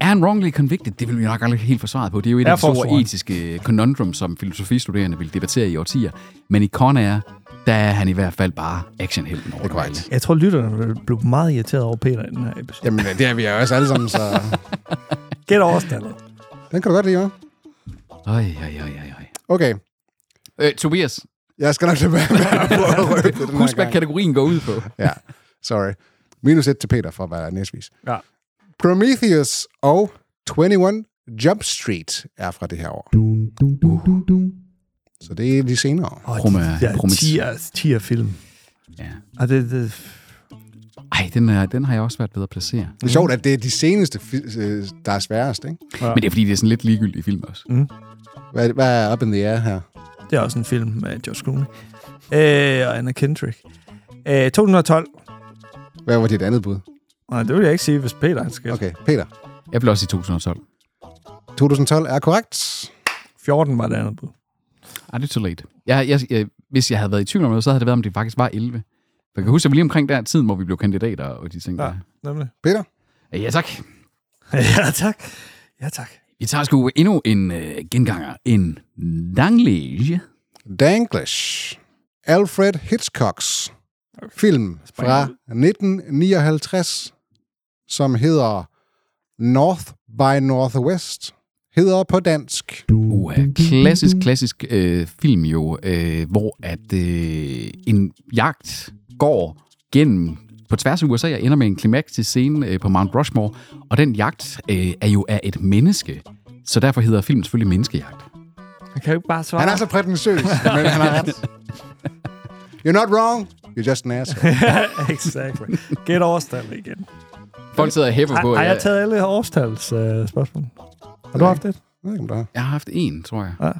[SPEAKER 4] er han wrongly convicted? Det vil vi nok aldrig helt forsvaret på. Det er jo et af de
[SPEAKER 5] Er
[SPEAKER 4] store
[SPEAKER 5] forsvaret.
[SPEAKER 4] etiske øh, conundrum, som filosofistuderende vil debattere i årtier. Men i Con Air, der er han i hvert fald bare actionhelten over det hele.
[SPEAKER 5] Jeg tror, lytterne vil blive meget irriteret over Peter i den her episode.
[SPEAKER 3] Jamen, det er vi jo også alle sammen, så
[SPEAKER 5] Gæt overstallet.
[SPEAKER 3] den kan du godt lide, hva'?
[SPEAKER 4] Øj, øj, øj, øj, øj.
[SPEAKER 3] Okay,
[SPEAKER 4] Øh, Tobias,
[SPEAKER 3] jeg skal nok lade være med at prøve at røbe det den her
[SPEAKER 4] husk, hvad
[SPEAKER 3] gang.
[SPEAKER 4] kategorien går ud på.
[SPEAKER 3] Ja, sorry. Minus et til Peter for at være næsvis.
[SPEAKER 5] Ja.
[SPEAKER 3] Prometheus og 21 Jump Street er fra det her år.
[SPEAKER 2] Dum, dum, dum, dum, dum.
[SPEAKER 3] Så det er de senere.
[SPEAKER 5] Og
[SPEAKER 4] Proma-
[SPEAKER 5] de der
[SPEAKER 4] promis.
[SPEAKER 5] tier, tier film.
[SPEAKER 4] Ja.
[SPEAKER 5] Og det, det,
[SPEAKER 4] Ej, den, er, den har jeg også været ved at placere.
[SPEAKER 3] Det er sjovt, at det er de seneste, fi- øh, der er sværest, ikke?
[SPEAKER 4] Men det er, fordi det er sådan lidt ligegyldigt film også.
[SPEAKER 3] Hvad, hvad er up in the air her?
[SPEAKER 5] det er også en film med George Clooney. Øh, og Anna Kendrick. Øh, 212.
[SPEAKER 3] Hvad var dit andet bud?
[SPEAKER 5] Nej, det vil jeg ikke sige, hvis Peter han skal. Okay.
[SPEAKER 3] Okay, Peter.
[SPEAKER 4] Jeg blev også i 2012.
[SPEAKER 3] 2012 er korrekt.
[SPEAKER 5] 14 var det andet bud.
[SPEAKER 4] Ej, det er too late. Jeg, jeg, jeg, hvis jeg havde været i tvivl om noget, så havde det været, om det faktisk var 11. For jeg kan huske, at vi lige omkring der tiden, hvor vi blev kandidater og de ting
[SPEAKER 5] Ja,
[SPEAKER 4] ja. der.
[SPEAKER 5] nemlig.
[SPEAKER 3] Peter?
[SPEAKER 4] Øh, Ja, tak.
[SPEAKER 5] ja, tak. Ja, tak.
[SPEAKER 4] Vi tager sgu endnu en øh, genganger. En langlege.
[SPEAKER 3] Danglish. Alfred Hitchcocks film fra 1959, som hedder North by Northwest, hedder på dansk.
[SPEAKER 4] Uh, klassisk, klassisk øh, film jo, øh, hvor at øh, en jagt går gennem på tværs af USA og ender med en klimaktisk scene øh, på Mount Rushmore. Og den jagt øh, er jo af et menneske. Så derfor hedder filmen selvfølgelig Menneskejagt.
[SPEAKER 5] Jeg kan jo ikke bare svare.
[SPEAKER 3] Han er så prætentiøs, men han har ret. You're not wrong, you're just an asshole.
[SPEAKER 5] exactly. Gæt overstallet igen.
[SPEAKER 4] Folk sidder og hæpper på. øh,
[SPEAKER 5] Har,
[SPEAKER 4] at-
[SPEAKER 5] har jeg taget alle årstals øh, spørgsmål? Har du haft det?
[SPEAKER 3] Jeg ved ikke, om der er.
[SPEAKER 4] Jeg har haft en, tror jeg.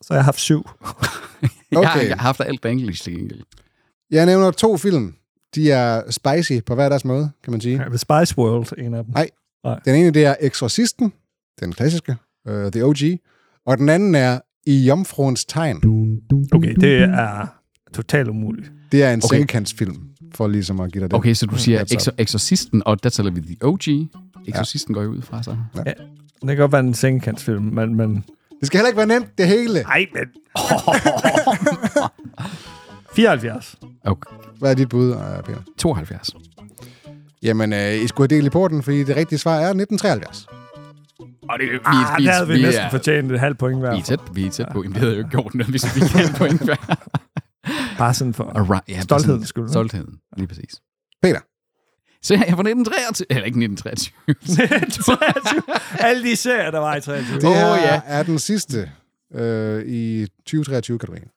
[SPEAKER 5] Så jeg har haft syv.
[SPEAKER 4] Okay. Jeg, har,
[SPEAKER 3] Okay.
[SPEAKER 4] jeg har haft alt på engelsk til gengæld.
[SPEAKER 3] Jeg nævner to film. De er spicy på hver deres måde, kan man sige.
[SPEAKER 5] Ja, ved Spice World, en af dem.
[SPEAKER 3] Nej. Den ene, det er Exorcisten, den klassiske, uh, The OG. Og den anden er I Jomfruens Tegn.
[SPEAKER 2] Dum, dum, dum,
[SPEAKER 5] Okay,
[SPEAKER 2] dum,
[SPEAKER 5] det
[SPEAKER 2] dum.
[SPEAKER 5] er totalt umuligt.
[SPEAKER 3] Det er en
[SPEAKER 4] Okay.
[SPEAKER 3] okay. sengekantsfilm, for ligesom at give dig det.
[SPEAKER 4] Okay, så du siger
[SPEAKER 3] that's
[SPEAKER 4] Exor- Exorcisten, og der taler vi The OG. Exorcisten går jeg ud fra, så.
[SPEAKER 5] Det kan godt være en sengekantsfilm, men... men
[SPEAKER 3] Det skal heller ikke være nemt, det hele.
[SPEAKER 5] Ej, men... 74.
[SPEAKER 4] Okay.
[SPEAKER 3] Hvad er dit bud, øh, Peter?
[SPEAKER 4] 72.
[SPEAKER 3] Jamen, øh, I skulle have del i porten, fordi det rigtige svar er 1973.
[SPEAKER 4] Og det, vi,
[SPEAKER 5] Ah, der havde vi næsten
[SPEAKER 4] er,
[SPEAKER 5] fortjent et halvt point hver.
[SPEAKER 4] vi er tæt, vi er tæt på. Jamen, det havde jeg jo ikke gjort noget, hvis vi kan på en hver.
[SPEAKER 5] Bare sådan for...
[SPEAKER 4] Alright, ja,
[SPEAKER 5] Stoltheden
[SPEAKER 4] præcis.
[SPEAKER 5] skyld, ikke?
[SPEAKER 4] Stoltheden, lige præcis.
[SPEAKER 3] Peter.
[SPEAKER 4] Så jeg er fra 1923, eller ikke 1923.
[SPEAKER 5] 23. Alle de serier, der var i 23.
[SPEAKER 3] Det
[SPEAKER 4] Åh,
[SPEAKER 3] oh, her
[SPEAKER 4] ja.
[SPEAKER 3] ja. er den sidste øh, i 2023-kategorien.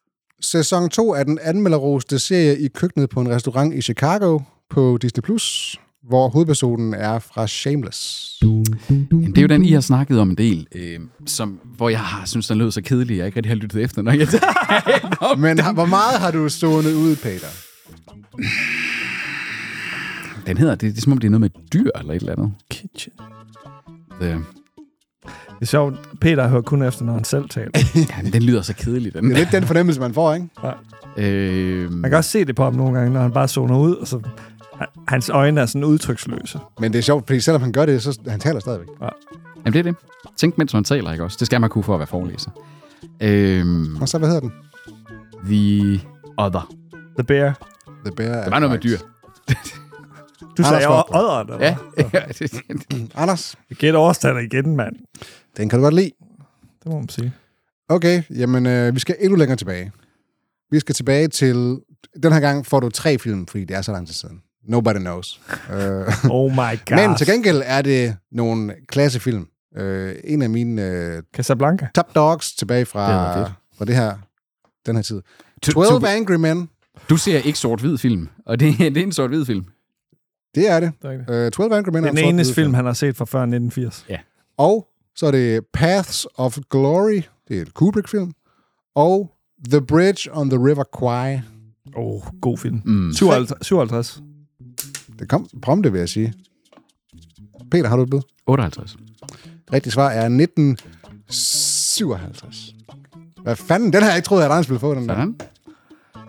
[SPEAKER 3] Sæson 2 er den anmelderoste serie i køkkenet på en restaurant i Chicago på Disney+, Plus, hvor hovedpersonen er fra Shameless.
[SPEAKER 2] Dum, dum, dum,
[SPEAKER 4] Jamen, det er jo den, I har snakket om en del, øh, som, hvor jeg har synes, den lød så kedelig, jeg ikke rigtig har lyttet efter, når jeg
[SPEAKER 3] Men har, hvor meget har du stående ud, Peter?
[SPEAKER 4] Den hedder, det, det er som om, det er noget med et dyr eller et eller andet. Øh,
[SPEAKER 5] Kitchen.
[SPEAKER 4] The,
[SPEAKER 5] Det er sjovt. Peter hører kun efter, når han selv taler.
[SPEAKER 4] Ja, men den lyder så kedelig, den.
[SPEAKER 3] Det er lidt den fornemmelse, man får, ikke?
[SPEAKER 4] Øh,
[SPEAKER 5] Man kan også se det på ham nogle gange, når han bare zoner ud, og så... Hans øjne er sådan udtryksløse.
[SPEAKER 3] Men det er sjovt, fordi selvom han gør det, så han taler stadigvæk.
[SPEAKER 4] jamen, det er det. Tænk, mens man taler, ikke også? Det skal man kunne for at være forelæser. Øh,
[SPEAKER 3] Og så, hvad hedder den?
[SPEAKER 4] the Other.
[SPEAKER 5] The Bear.
[SPEAKER 3] The Bear
[SPEAKER 4] Der var noget med dyr.
[SPEAKER 5] Du sagde
[SPEAKER 3] Anders Fogh.
[SPEAKER 5] odderen, eller?
[SPEAKER 4] Ja,
[SPEAKER 5] Ja.
[SPEAKER 4] ja det, det,
[SPEAKER 3] Anders,
[SPEAKER 5] Gæt overstander igen, mand.
[SPEAKER 3] den kan du godt lide.
[SPEAKER 5] Det må man sige.
[SPEAKER 3] Okay, jamen øh, vi skal endnu længere tilbage. Vi skal tilbage til... Den her gang får du tre film, fordi det er så lang tid siden. Nobody knows. Øh,
[SPEAKER 5] Oh my god.
[SPEAKER 3] men til gengæld er det nogle klassefilm. Øh, en af mine øh,
[SPEAKER 5] Casablanca.
[SPEAKER 3] top dogs tilbage fra
[SPEAKER 4] Det er
[SPEAKER 3] det, fra det her, den her tid.
[SPEAKER 4] to,
[SPEAKER 3] 12
[SPEAKER 4] to,
[SPEAKER 3] Angry Men,
[SPEAKER 4] du ser ikke sort-hvid film, og det, det er en sort-hvid film.
[SPEAKER 3] det er det.
[SPEAKER 5] Det er rigtigt.
[SPEAKER 3] Øh, 12 Angry Men er en
[SPEAKER 5] Den
[SPEAKER 3] sort
[SPEAKER 5] eneste
[SPEAKER 3] hvid
[SPEAKER 5] film, han har set fra før 1980.
[SPEAKER 3] Og så er det Paths of Glory, det er en Kubrick-film. Og The Bridge on the River Kwai.
[SPEAKER 5] Åh, oh, god film.
[SPEAKER 4] Mm.
[SPEAKER 5] 57. 57.
[SPEAKER 3] Det kom prompte, vil jeg sige. Peter, har du et bud?
[SPEAKER 4] 58.
[SPEAKER 3] Rigtigt svar er 1957. Hvad fanden? Den har jeg ikke troet, at Anders ville få, den der.
[SPEAKER 4] Sådan.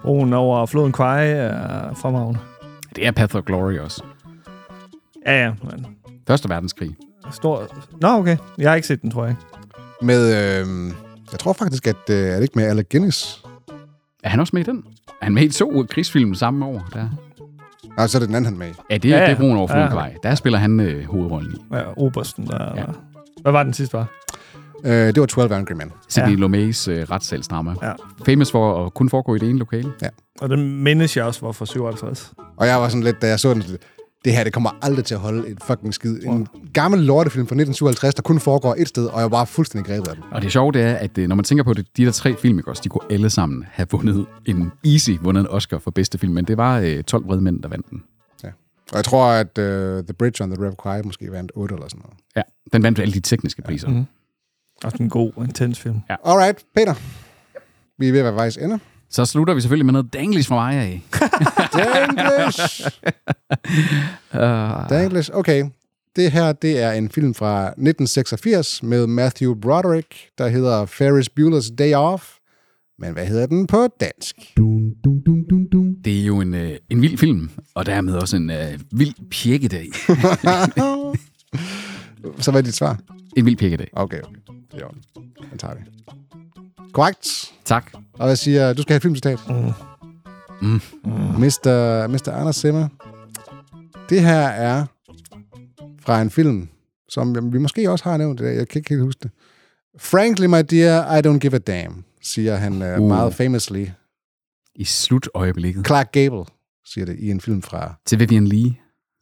[SPEAKER 5] Broen over floden Kwai er fremragende.
[SPEAKER 4] Det er Path of Glory også.
[SPEAKER 5] Ja, ja. Men.
[SPEAKER 4] Første verdenskrig.
[SPEAKER 5] Stor... Nå, okay. Jeg har ikke set den, tror jeg. ikke.
[SPEAKER 3] Med, øh, jeg tror faktisk, at øh, er det ikke med Alec Guinness?
[SPEAKER 4] Er han også med i den? Er han med i to krigsfilm samme år? Der?
[SPEAKER 3] Nej, så er det den anden, han er med i.
[SPEAKER 4] Ja, det
[SPEAKER 5] Ja,
[SPEAKER 4] er
[SPEAKER 5] ja.
[SPEAKER 4] det broen over
[SPEAKER 5] Ja.
[SPEAKER 4] Fulkvej. Der spiller han øh, hovedrollen i.
[SPEAKER 5] Ja, Obersten, der...
[SPEAKER 4] Ja.
[SPEAKER 5] Ja. Hvad var den sidste, var?
[SPEAKER 3] Øh, det var 12 Angry Men.
[SPEAKER 4] Sidney ja. Lumet's øh, retssalsdrama.
[SPEAKER 5] Ja.
[SPEAKER 4] Famous for at kun foregå i det ene lokale.
[SPEAKER 5] Og den mindes jeg også var fra 57.
[SPEAKER 3] Og jeg var sådan lidt, da jeg så den, sådan lidt, det her, det kommer aldrig til at holde et fucking skid. En gammel lortefilm fra 1957, der kun foregår et sted, og jeg var fuldstændig grebet af den.
[SPEAKER 4] Og det sjove det er, at øh, når man tænker på det, de der tre film, ikke også, de kunne alle sammen have vundet en easy, vundet en Oscar for bedste film, men det var øh, 12 vrede mænd, der vandt den.
[SPEAKER 3] Og jeg tror, at øh, The Bridge on the River Kwai måske vandt 8 eller sådan noget.
[SPEAKER 4] Ja, den vandt alle de tekniske priser.
[SPEAKER 5] Mm. Og en god, intens film.
[SPEAKER 3] Alright, Peter. Vi er ved at være vejs ende.
[SPEAKER 4] Så slutter vi selvfølgelig med noget danglish fra mig af.
[SPEAKER 3] Danglish! Danglish, okay. Det her, det er en film fra 1986 med Matthew Broderick, der hedder Ferris Bueller's Day Off. Men hvad hedder den på dansk?
[SPEAKER 2] dum dum dum dum dum
[SPEAKER 4] Det er jo en, øh, en vild film, og dermed også en øh, vild pjekkedag.
[SPEAKER 3] Så hvad er dit svar?
[SPEAKER 4] en vild pjekkedag.
[SPEAKER 3] Okay, okay. Det er i orden. Den tager vi. Korrekt.
[SPEAKER 4] Tak.
[SPEAKER 3] Og jeg siger, du skal have et filmcitat. Mm.
[SPEAKER 4] Mm.
[SPEAKER 3] Mr. Mr. Anders Simmer. Det her er fra en film, som vi måske også har nævnt i dag. Jeg kan ikke helt huske det. Frankly, my dear, I don't give a damn, siger han uh.
[SPEAKER 4] Uh.
[SPEAKER 3] meget famously.
[SPEAKER 4] I slutøjeblikket
[SPEAKER 3] Clark Gable siger det i en film fra,
[SPEAKER 4] til Vivian Lee.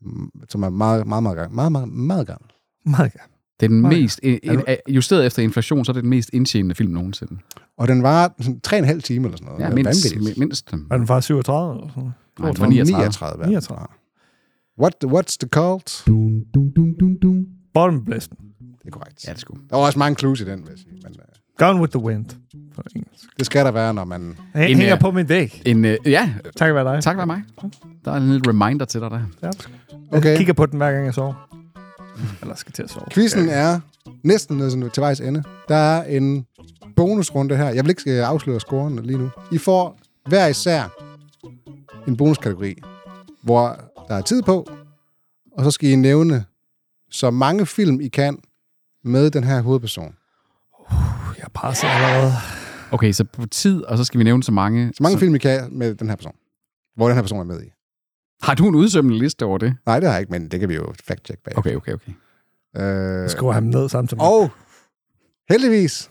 [SPEAKER 3] mm, som er meget, meget, meget gammel. Meget, meget, meget gammel.
[SPEAKER 5] Meget gerne.
[SPEAKER 4] Det er den
[SPEAKER 5] Nej.
[SPEAKER 4] mest, en, en, justeret efter inflation, så er det den mest indtjenende film nogensinde.
[SPEAKER 3] Og den var sådan tre og en halv time eller sådan noget.
[SPEAKER 4] Ja,
[SPEAKER 3] Det er
[SPEAKER 4] mindst.
[SPEAKER 3] vanvittigt.
[SPEAKER 4] mindst
[SPEAKER 5] Var den fra 37 eller sådan noget?
[SPEAKER 4] nej, det var 39.
[SPEAKER 3] 39.
[SPEAKER 5] 39.
[SPEAKER 3] What, what's the cult?
[SPEAKER 2] dum dum dum dum dum
[SPEAKER 5] Bottom Blast.
[SPEAKER 3] Det er korrekt.
[SPEAKER 4] Ja, det skulle.
[SPEAKER 3] Der var også mange clues i den, vil jeg sige. Men øh,
[SPEAKER 5] Gone with the Wind. På engelsk.
[SPEAKER 3] det skal der være, når man...
[SPEAKER 5] Hæ-
[SPEAKER 4] En,
[SPEAKER 5] hænger
[SPEAKER 4] øh,
[SPEAKER 5] på min væg.
[SPEAKER 4] En, øh, ja,
[SPEAKER 5] Tak være dig.
[SPEAKER 4] tak var mig. Der er en lille reminder til dig der.
[SPEAKER 5] Ja.
[SPEAKER 3] Okay.
[SPEAKER 5] Jeg kigger på den, hver gang jeg sover. Eller skal til at sove.
[SPEAKER 3] Quizzen er næsten nået sådan til vejs ende. Der er en bonusrunde her. Jeg vil ikke øh, afsløre scoren lige nu. I får hver især en bonuskategori, hvor der er tid på, og så skal I nævne så mange film, I kan med den her hovedperson.
[SPEAKER 5] Puh, Jeg passer allerede.
[SPEAKER 3] Øh.
[SPEAKER 4] Okay, så på tid, og så skal vi nævne så mange.
[SPEAKER 3] Så mange film, I kan med den her person. Hvor den her person er med i.
[SPEAKER 4] Har du en udsømmende liste over det?
[SPEAKER 3] Nej, det har jeg ikke, men det kan vi jo fact-check bag.
[SPEAKER 4] Okay, okay, okay.
[SPEAKER 3] Øh,
[SPEAKER 5] Jeg skriver ham ned samtidig. Og
[SPEAKER 3] og heldigvis,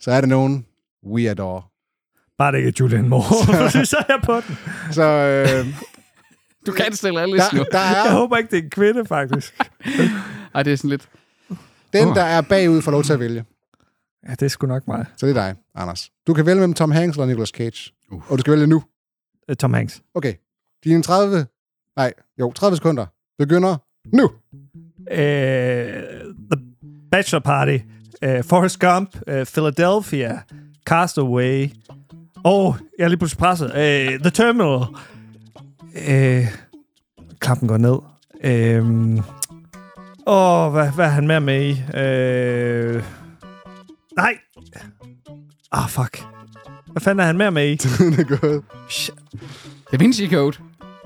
[SPEAKER 3] så er det nogen, we adore.
[SPEAKER 5] bare det ikke er Julian Moore. Så- så er jeg på den.
[SPEAKER 3] Så øh,
[SPEAKER 4] Du kan stille alle
[SPEAKER 3] der,
[SPEAKER 4] listen
[SPEAKER 3] der
[SPEAKER 5] Jeg
[SPEAKER 3] er
[SPEAKER 5] håber ikke, det er en kvinde, faktisk.
[SPEAKER 4] Ej, det er sådan lidt...
[SPEAKER 3] den, der er bagud, får lov til at vælge.
[SPEAKER 5] Ja, det er sgu nok mig.
[SPEAKER 3] Så det er dig, Anders. Du kan vælge mellem Tom Hanks eller Nicolas Cage.
[SPEAKER 4] Uh.
[SPEAKER 3] Uh. Og du skal vælge nu.
[SPEAKER 5] Øh, Tom Hanks.
[SPEAKER 3] Okay. Dine 30... Nej, jo, 30 sekunder begynder nu.
[SPEAKER 5] Øh, The Bachelor Party. Øh, Forrest Gump. Øh, Philadelphia. Castaway. Og jeg er lige pludselig presset. Øh, The Terminal. Øh, klappen går ned. Øh, åh, hvad, hvad er han med med i? Øh, nej! Ah, oh, fuck. Hvad fanden er han med med i?
[SPEAKER 3] det er gået.
[SPEAKER 4] Da Vinci Code.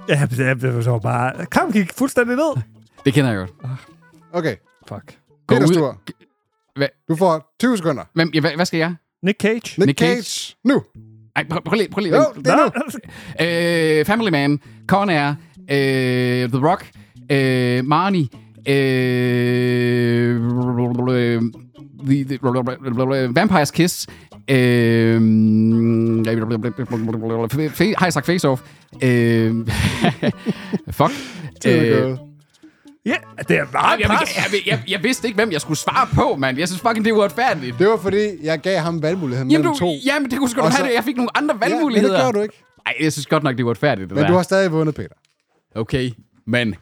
[SPEAKER 5] ja, det, det var bare... Kampen gik fuldstændig ned.
[SPEAKER 4] Det kender jeg godt.
[SPEAKER 3] Okay,
[SPEAKER 5] Fuck.
[SPEAKER 4] Gå
[SPEAKER 3] Peters
[SPEAKER 4] ud.
[SPEAKER 3] tur.
[SPEAKER 4] Hva-
[SPEAKER 3] Du får 20 sekunder.
[SPEAKER 4] Hvem, ja, hvad, hvad skal jeg?
[SPEAKER 5] Nick Cage.
[SPEAKER 3] Nick,
[SPEAKER 4] Nick Cage.
[SPEAKER 3] Cage. Nu.
[SPEAKER 4] Ej, prøv, prøv lige. Prøv lige.
[SPEAKER 3] Jo,
[SPEAKER 4] vent.
[SPEAKER 3] det er nu.
[SPEAKER 4] Øh, Family Man. Con Air. Øh, The Rock. Øh, Marnie. Øh, the, the, Vampire's Kiss. Øh, fe- har jeg sagt Face Off? Øh, fuck.
[SPEAKER 3] Det
[SPEAKER 4] Øh.
[SPEAKER 3] er gået.
[SPEAKER 5] Ja, det er
[SPEAKER 4] Ej, jeg,
[SPEAKER 5] meget
[SPEAKER 4] jeg,
[SPEAKER 5] pres.
[SPEAKER 4] jeg, jeg, jeg vidste ikke, hvem jeg skulle svare på, mand. Jeg synes fucking, det er uretfærdigt.
[SPEAKER 3] Det var fordi, jeg gav ham valgmuligheden
[SPEAKER 4] Jamen,
[SPEAKER 3] mellem
[SPEAKER 4] du,
[SPEAKER 3] to.
[SPEAKER 4] jamen, det kunne sgu da
[SPEAKER 3] Og
[SPEAKER 4] have
[SPEAKER 3] så-
[SPEAKER 4] det. Jeg fik nogle andre
[SPEAKER 3] Ja, men
[SPEAKER 4] valgmuligheder.
[SPEAKER 3] det gør du ikke.
[SPEAKER 4] Ej, jeg synes godt nok, det er uretfærdigt, det
[SPEAKER 3] Men
[SPEAKER 4] der.
[SPEAKER 3] du har stadig vundet, Peter.
[SPEAKER 4] Okay, men...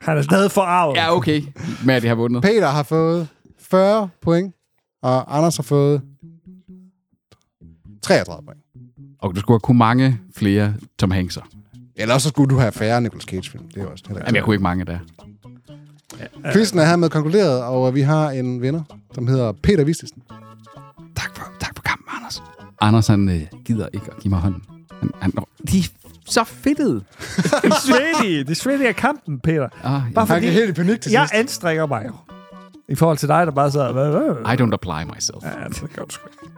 [SPEAKER 5] Han er stadig forarvet.
[SPEAKER 4] Ja, okay. Med at jeg har vundet.
[SPEAKER 3] Peter har fået 40 point, og Anders har fået 33 point.
[SPEAKER 4] Og du skulle have kunne mange flere Tom Hankser.
[SPEAKER 3] Eller også så skulle du have færre Nicolas Cage-film. Det er også heller
[SPEAKER 4] Jamen, jeg kunne ikke mange der.
[SPEAKER 3] ikke. Quizzen er hermed konkluderet, og øh, vi har en vinder, som hedder Peter Vistisen.
[SPEAKER 4] Tak for, tak for kampen, Anders. Anders, han øh, gider ikke at give mig hånden. Han, han, åh, de er så fedtede.
[SPEAKER 5] Det er svedige. Det er svedige af kampen, Peter.
[SPEAKER 4] Ah, ja.
[SPEAKER 3] Han
[SPEAKER 5] Bare fordi,
[SPEAKER 3] er helt i panik til
[SPEAKER 5] jeg
[SPEAKER 3] sidst.
[SPEAKER 5] anstrenger mig jo. I forhold til dig, der bare sad... "Hvad, hvad, hvad?"
[SPEAKER 4] I don't apply myself.
[SPEAKER 5] Ja, det gør du sgu ikke.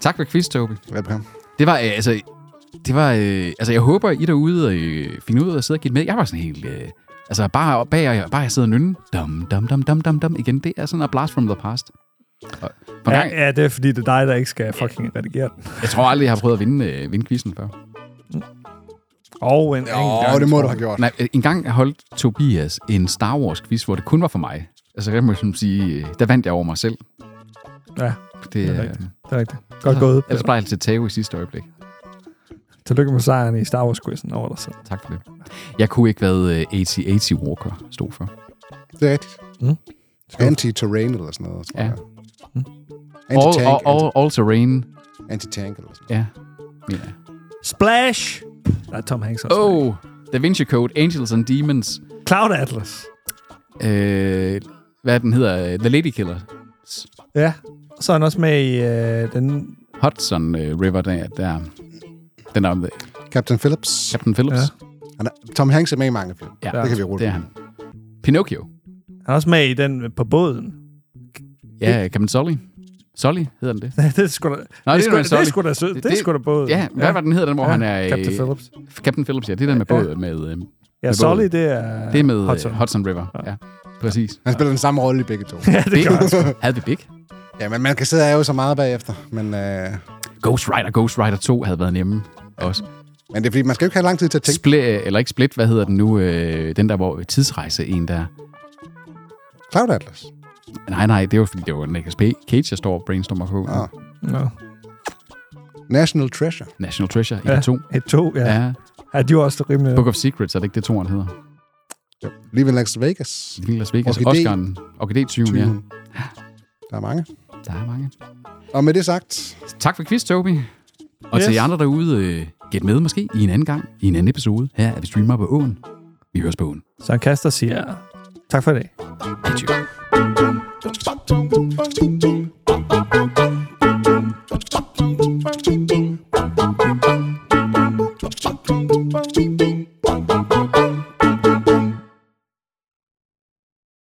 [SPEAKER 4] Tak for quiz, Toby.
[SPEAKER 3] Velbekomme.
[SPEAKER 4] Det var, øh, altså, det var, øh, altså, jeg håber, I derude øh, finder ud af at sidde og give med. Jeg var sådan helt, øh, altså, bare bag og bare jeg sidder og nynne. Dum, dum, dum, dum, dum, dum. Igen, det er sådan en blast from the past. Og, for ja, gang,
[SPEAKER 5] Ja, ja, det er fordi, det er dig, der ikke skal fucking redigere den.
[SPEAKER 4] Jeg tror aldrig, jeg har prøvet at vinde, øh, vinde quizzen før.
[SPEAKER 5] Og en, en
[SPEAKER 3] Åh, det må du have gjort.
[SPEAKER 4] Nej, øh, en gang holdt Tobias en Star Wars quiz, hvor det kun var for mig. Altså, jeg må sådan sige, øh, der vandt jeg over mig selv.
[SPEAKER 5] Ja,
[SPEAKER 4] det
[SPEAKER 5] er
[SPEAKER 4] er
[SPEAKER 5] rigtigt. det er rigtigt. Godt gået.
[SPEAKER 4] Ellers bare jeg til tave i sidste øjeblik.
[SPEAKER 5] Tillykke med sejren i Star Wars-quizzen over dig selv.
[SPEAKER 4] Tak for det. Jeg kunne ikke, hvad øh, AT-AT Walker stod for.
[SPEAKER 3] Det er rigtigt.
[SPEAKER 5] Mm.
[SPEAKER 3] Anti-terrain eller sådan noget, tror
[SPEAKER 4] Ja.
[SPEAKER 3] jeg.
[SPEAKER 5] Mm.
[SPEAKER 4] All, all,
[SPEAKER 3] Anti-tank,
[SPEAKER 4] all, all terrain.
[SPEAKER 3] anti- anti-tank eller sådan
[SPEAKER 4] Ja. Mener jeg.
[SPEAKER 5] Splash! Der er Tom Hanks også. med.
[SPEAKER 4] Oh, Da Vinci Code, Angels and Demons.
[SPEAKER 5] Cloud Atlas.
[SPEAKER 4] Øh, hvad den hedder? øh, The Lady Killer.
[SPEAKER 5] Ja. Så er han også med i øh, den...
[SPEAKER 4] Hudson øh, River, der, der. Den er om øh,
[SPEAKER 3] noget. Captain Phillips.
[SPEAKER 4] Captain Phillips.
[SPEAKER 5] Ja.
[SPEAKER 3] Han er, Tom Hanks er med i mange film.
[SPEAKER 4] Ja,
[SPEAKER 3] Det kan vi rulle.
[SPEAKER 4] det er han. Pinocchio.
[SPEAKER 5] Han er også med i den øh, på båden.
[SPEAKER 4] Ja, Captain Sully. Sully hedder den det.
[SPEAKER 5] det er sgu da... det,
[SPEAKER 4] Nej,
[SPEAKER 5] er
[SPEAKER 4] det,
[SPEAKER 5] sgu,
[SPEAKER 4] det,
[SPEAKER 5] det er sgu
[SPEAKER 4] det,
[SPEAKER 5] da sød.
[SPEAKER 4] Det-
[SPEAKER 5] Det er
[SPEAKER 4] det-
[SPEAKER 5] sgu da båden.
[SPEAKER 4] Ja, hvad var den hedder, den, hvor han er... øh,
[SPEAKER 5] Captain Phillips.
[SPEAKER 4] Captain Phillips, ja. Det er den med
[SPEAKER 5] Ja.
[SPEAKER 4] båd, med, øh,
[SPEAKER 5] Ja,
[SPEAKER 4] med
[SPEAKER 5] Sully,
[SPEAKER 4] båden.
[SPEAKER 5] det er...
[SPEAKER 4] det er med øh, Hudson,
[SPEAKER 5] Hudson.
[SPEAKER 4] Hudson River. Ja. ja. Præcis.
[SPEAKER 3] Han spiller den samme rolle i begge to.
[SPEAKER 5] ja, det gør han.
[SPEAKER 4] Havde vi Big?
[SPEAKER 3] ja, men man kan sidde og er jo så meget bagefter. Men, øh,
[SPEAKER 4] Ghost Rider, Ghost Rider 2 havde været nemme også.
[SPEAKER 3] men det er fordi, man skal jo ikke have lang tid til at tænke.
[SPEAKER 4] Split, øh, eller ikke Split, hvad hedder den nu? Øh, den der, hvor tidsrejse en der...
[SPEAKER 3] Cloud Atlas.
[SPEAKER 4] Nej, nej, det var fordi, det var Nicolas P- Cage, jeg står og brainstormer på.
[SPEAKER 3] Ah.
[SPEAKER 4] Ah.
[SPEAKER 5] Nå.
[SPEAKER 3] National Treasure.
[SPEAKER 4] National Treasure,
[SPEAKER 5] Ja.
[SPEAKER 4] ja. 2.
[SPEAKER 5] Et to, ja.
[SPEAKER 4] Ja.
[SPEAKER 5] ja.
[SPEAKER 4] ja.
[SPEAKER 5] ja de var også rimelig...
[SPEAKER 4] Book of Secrets, er det ikke det, toren hedder?
[SPEAKER 3] Lige ved Las Vegas.
[SPEAKER 4] Det er Las Vegas,
[SPEAKER 3] Orkidé.
[SPEAKER 4] Oscar'en, Orkidé 20, ja.
[SPEAKER 3] Der er mange.
[SPEAKER 4] Der er mange.
[SPEAKER 3] Og med det sagt,
[SPEAKER 4] Tak for quiz, Toby. Og yes. til
[SPEAKER 5] Yes.
[SPEAKER 4] jer andre derude, øh, gæt med måske i en anden gang, i en anden episode. Her er vi streamer på åen. Vi høres på åen.
[SPEAKER 5] Så han kaster og siger... Tak for i dag.
[SPEAKER 4] Adieu.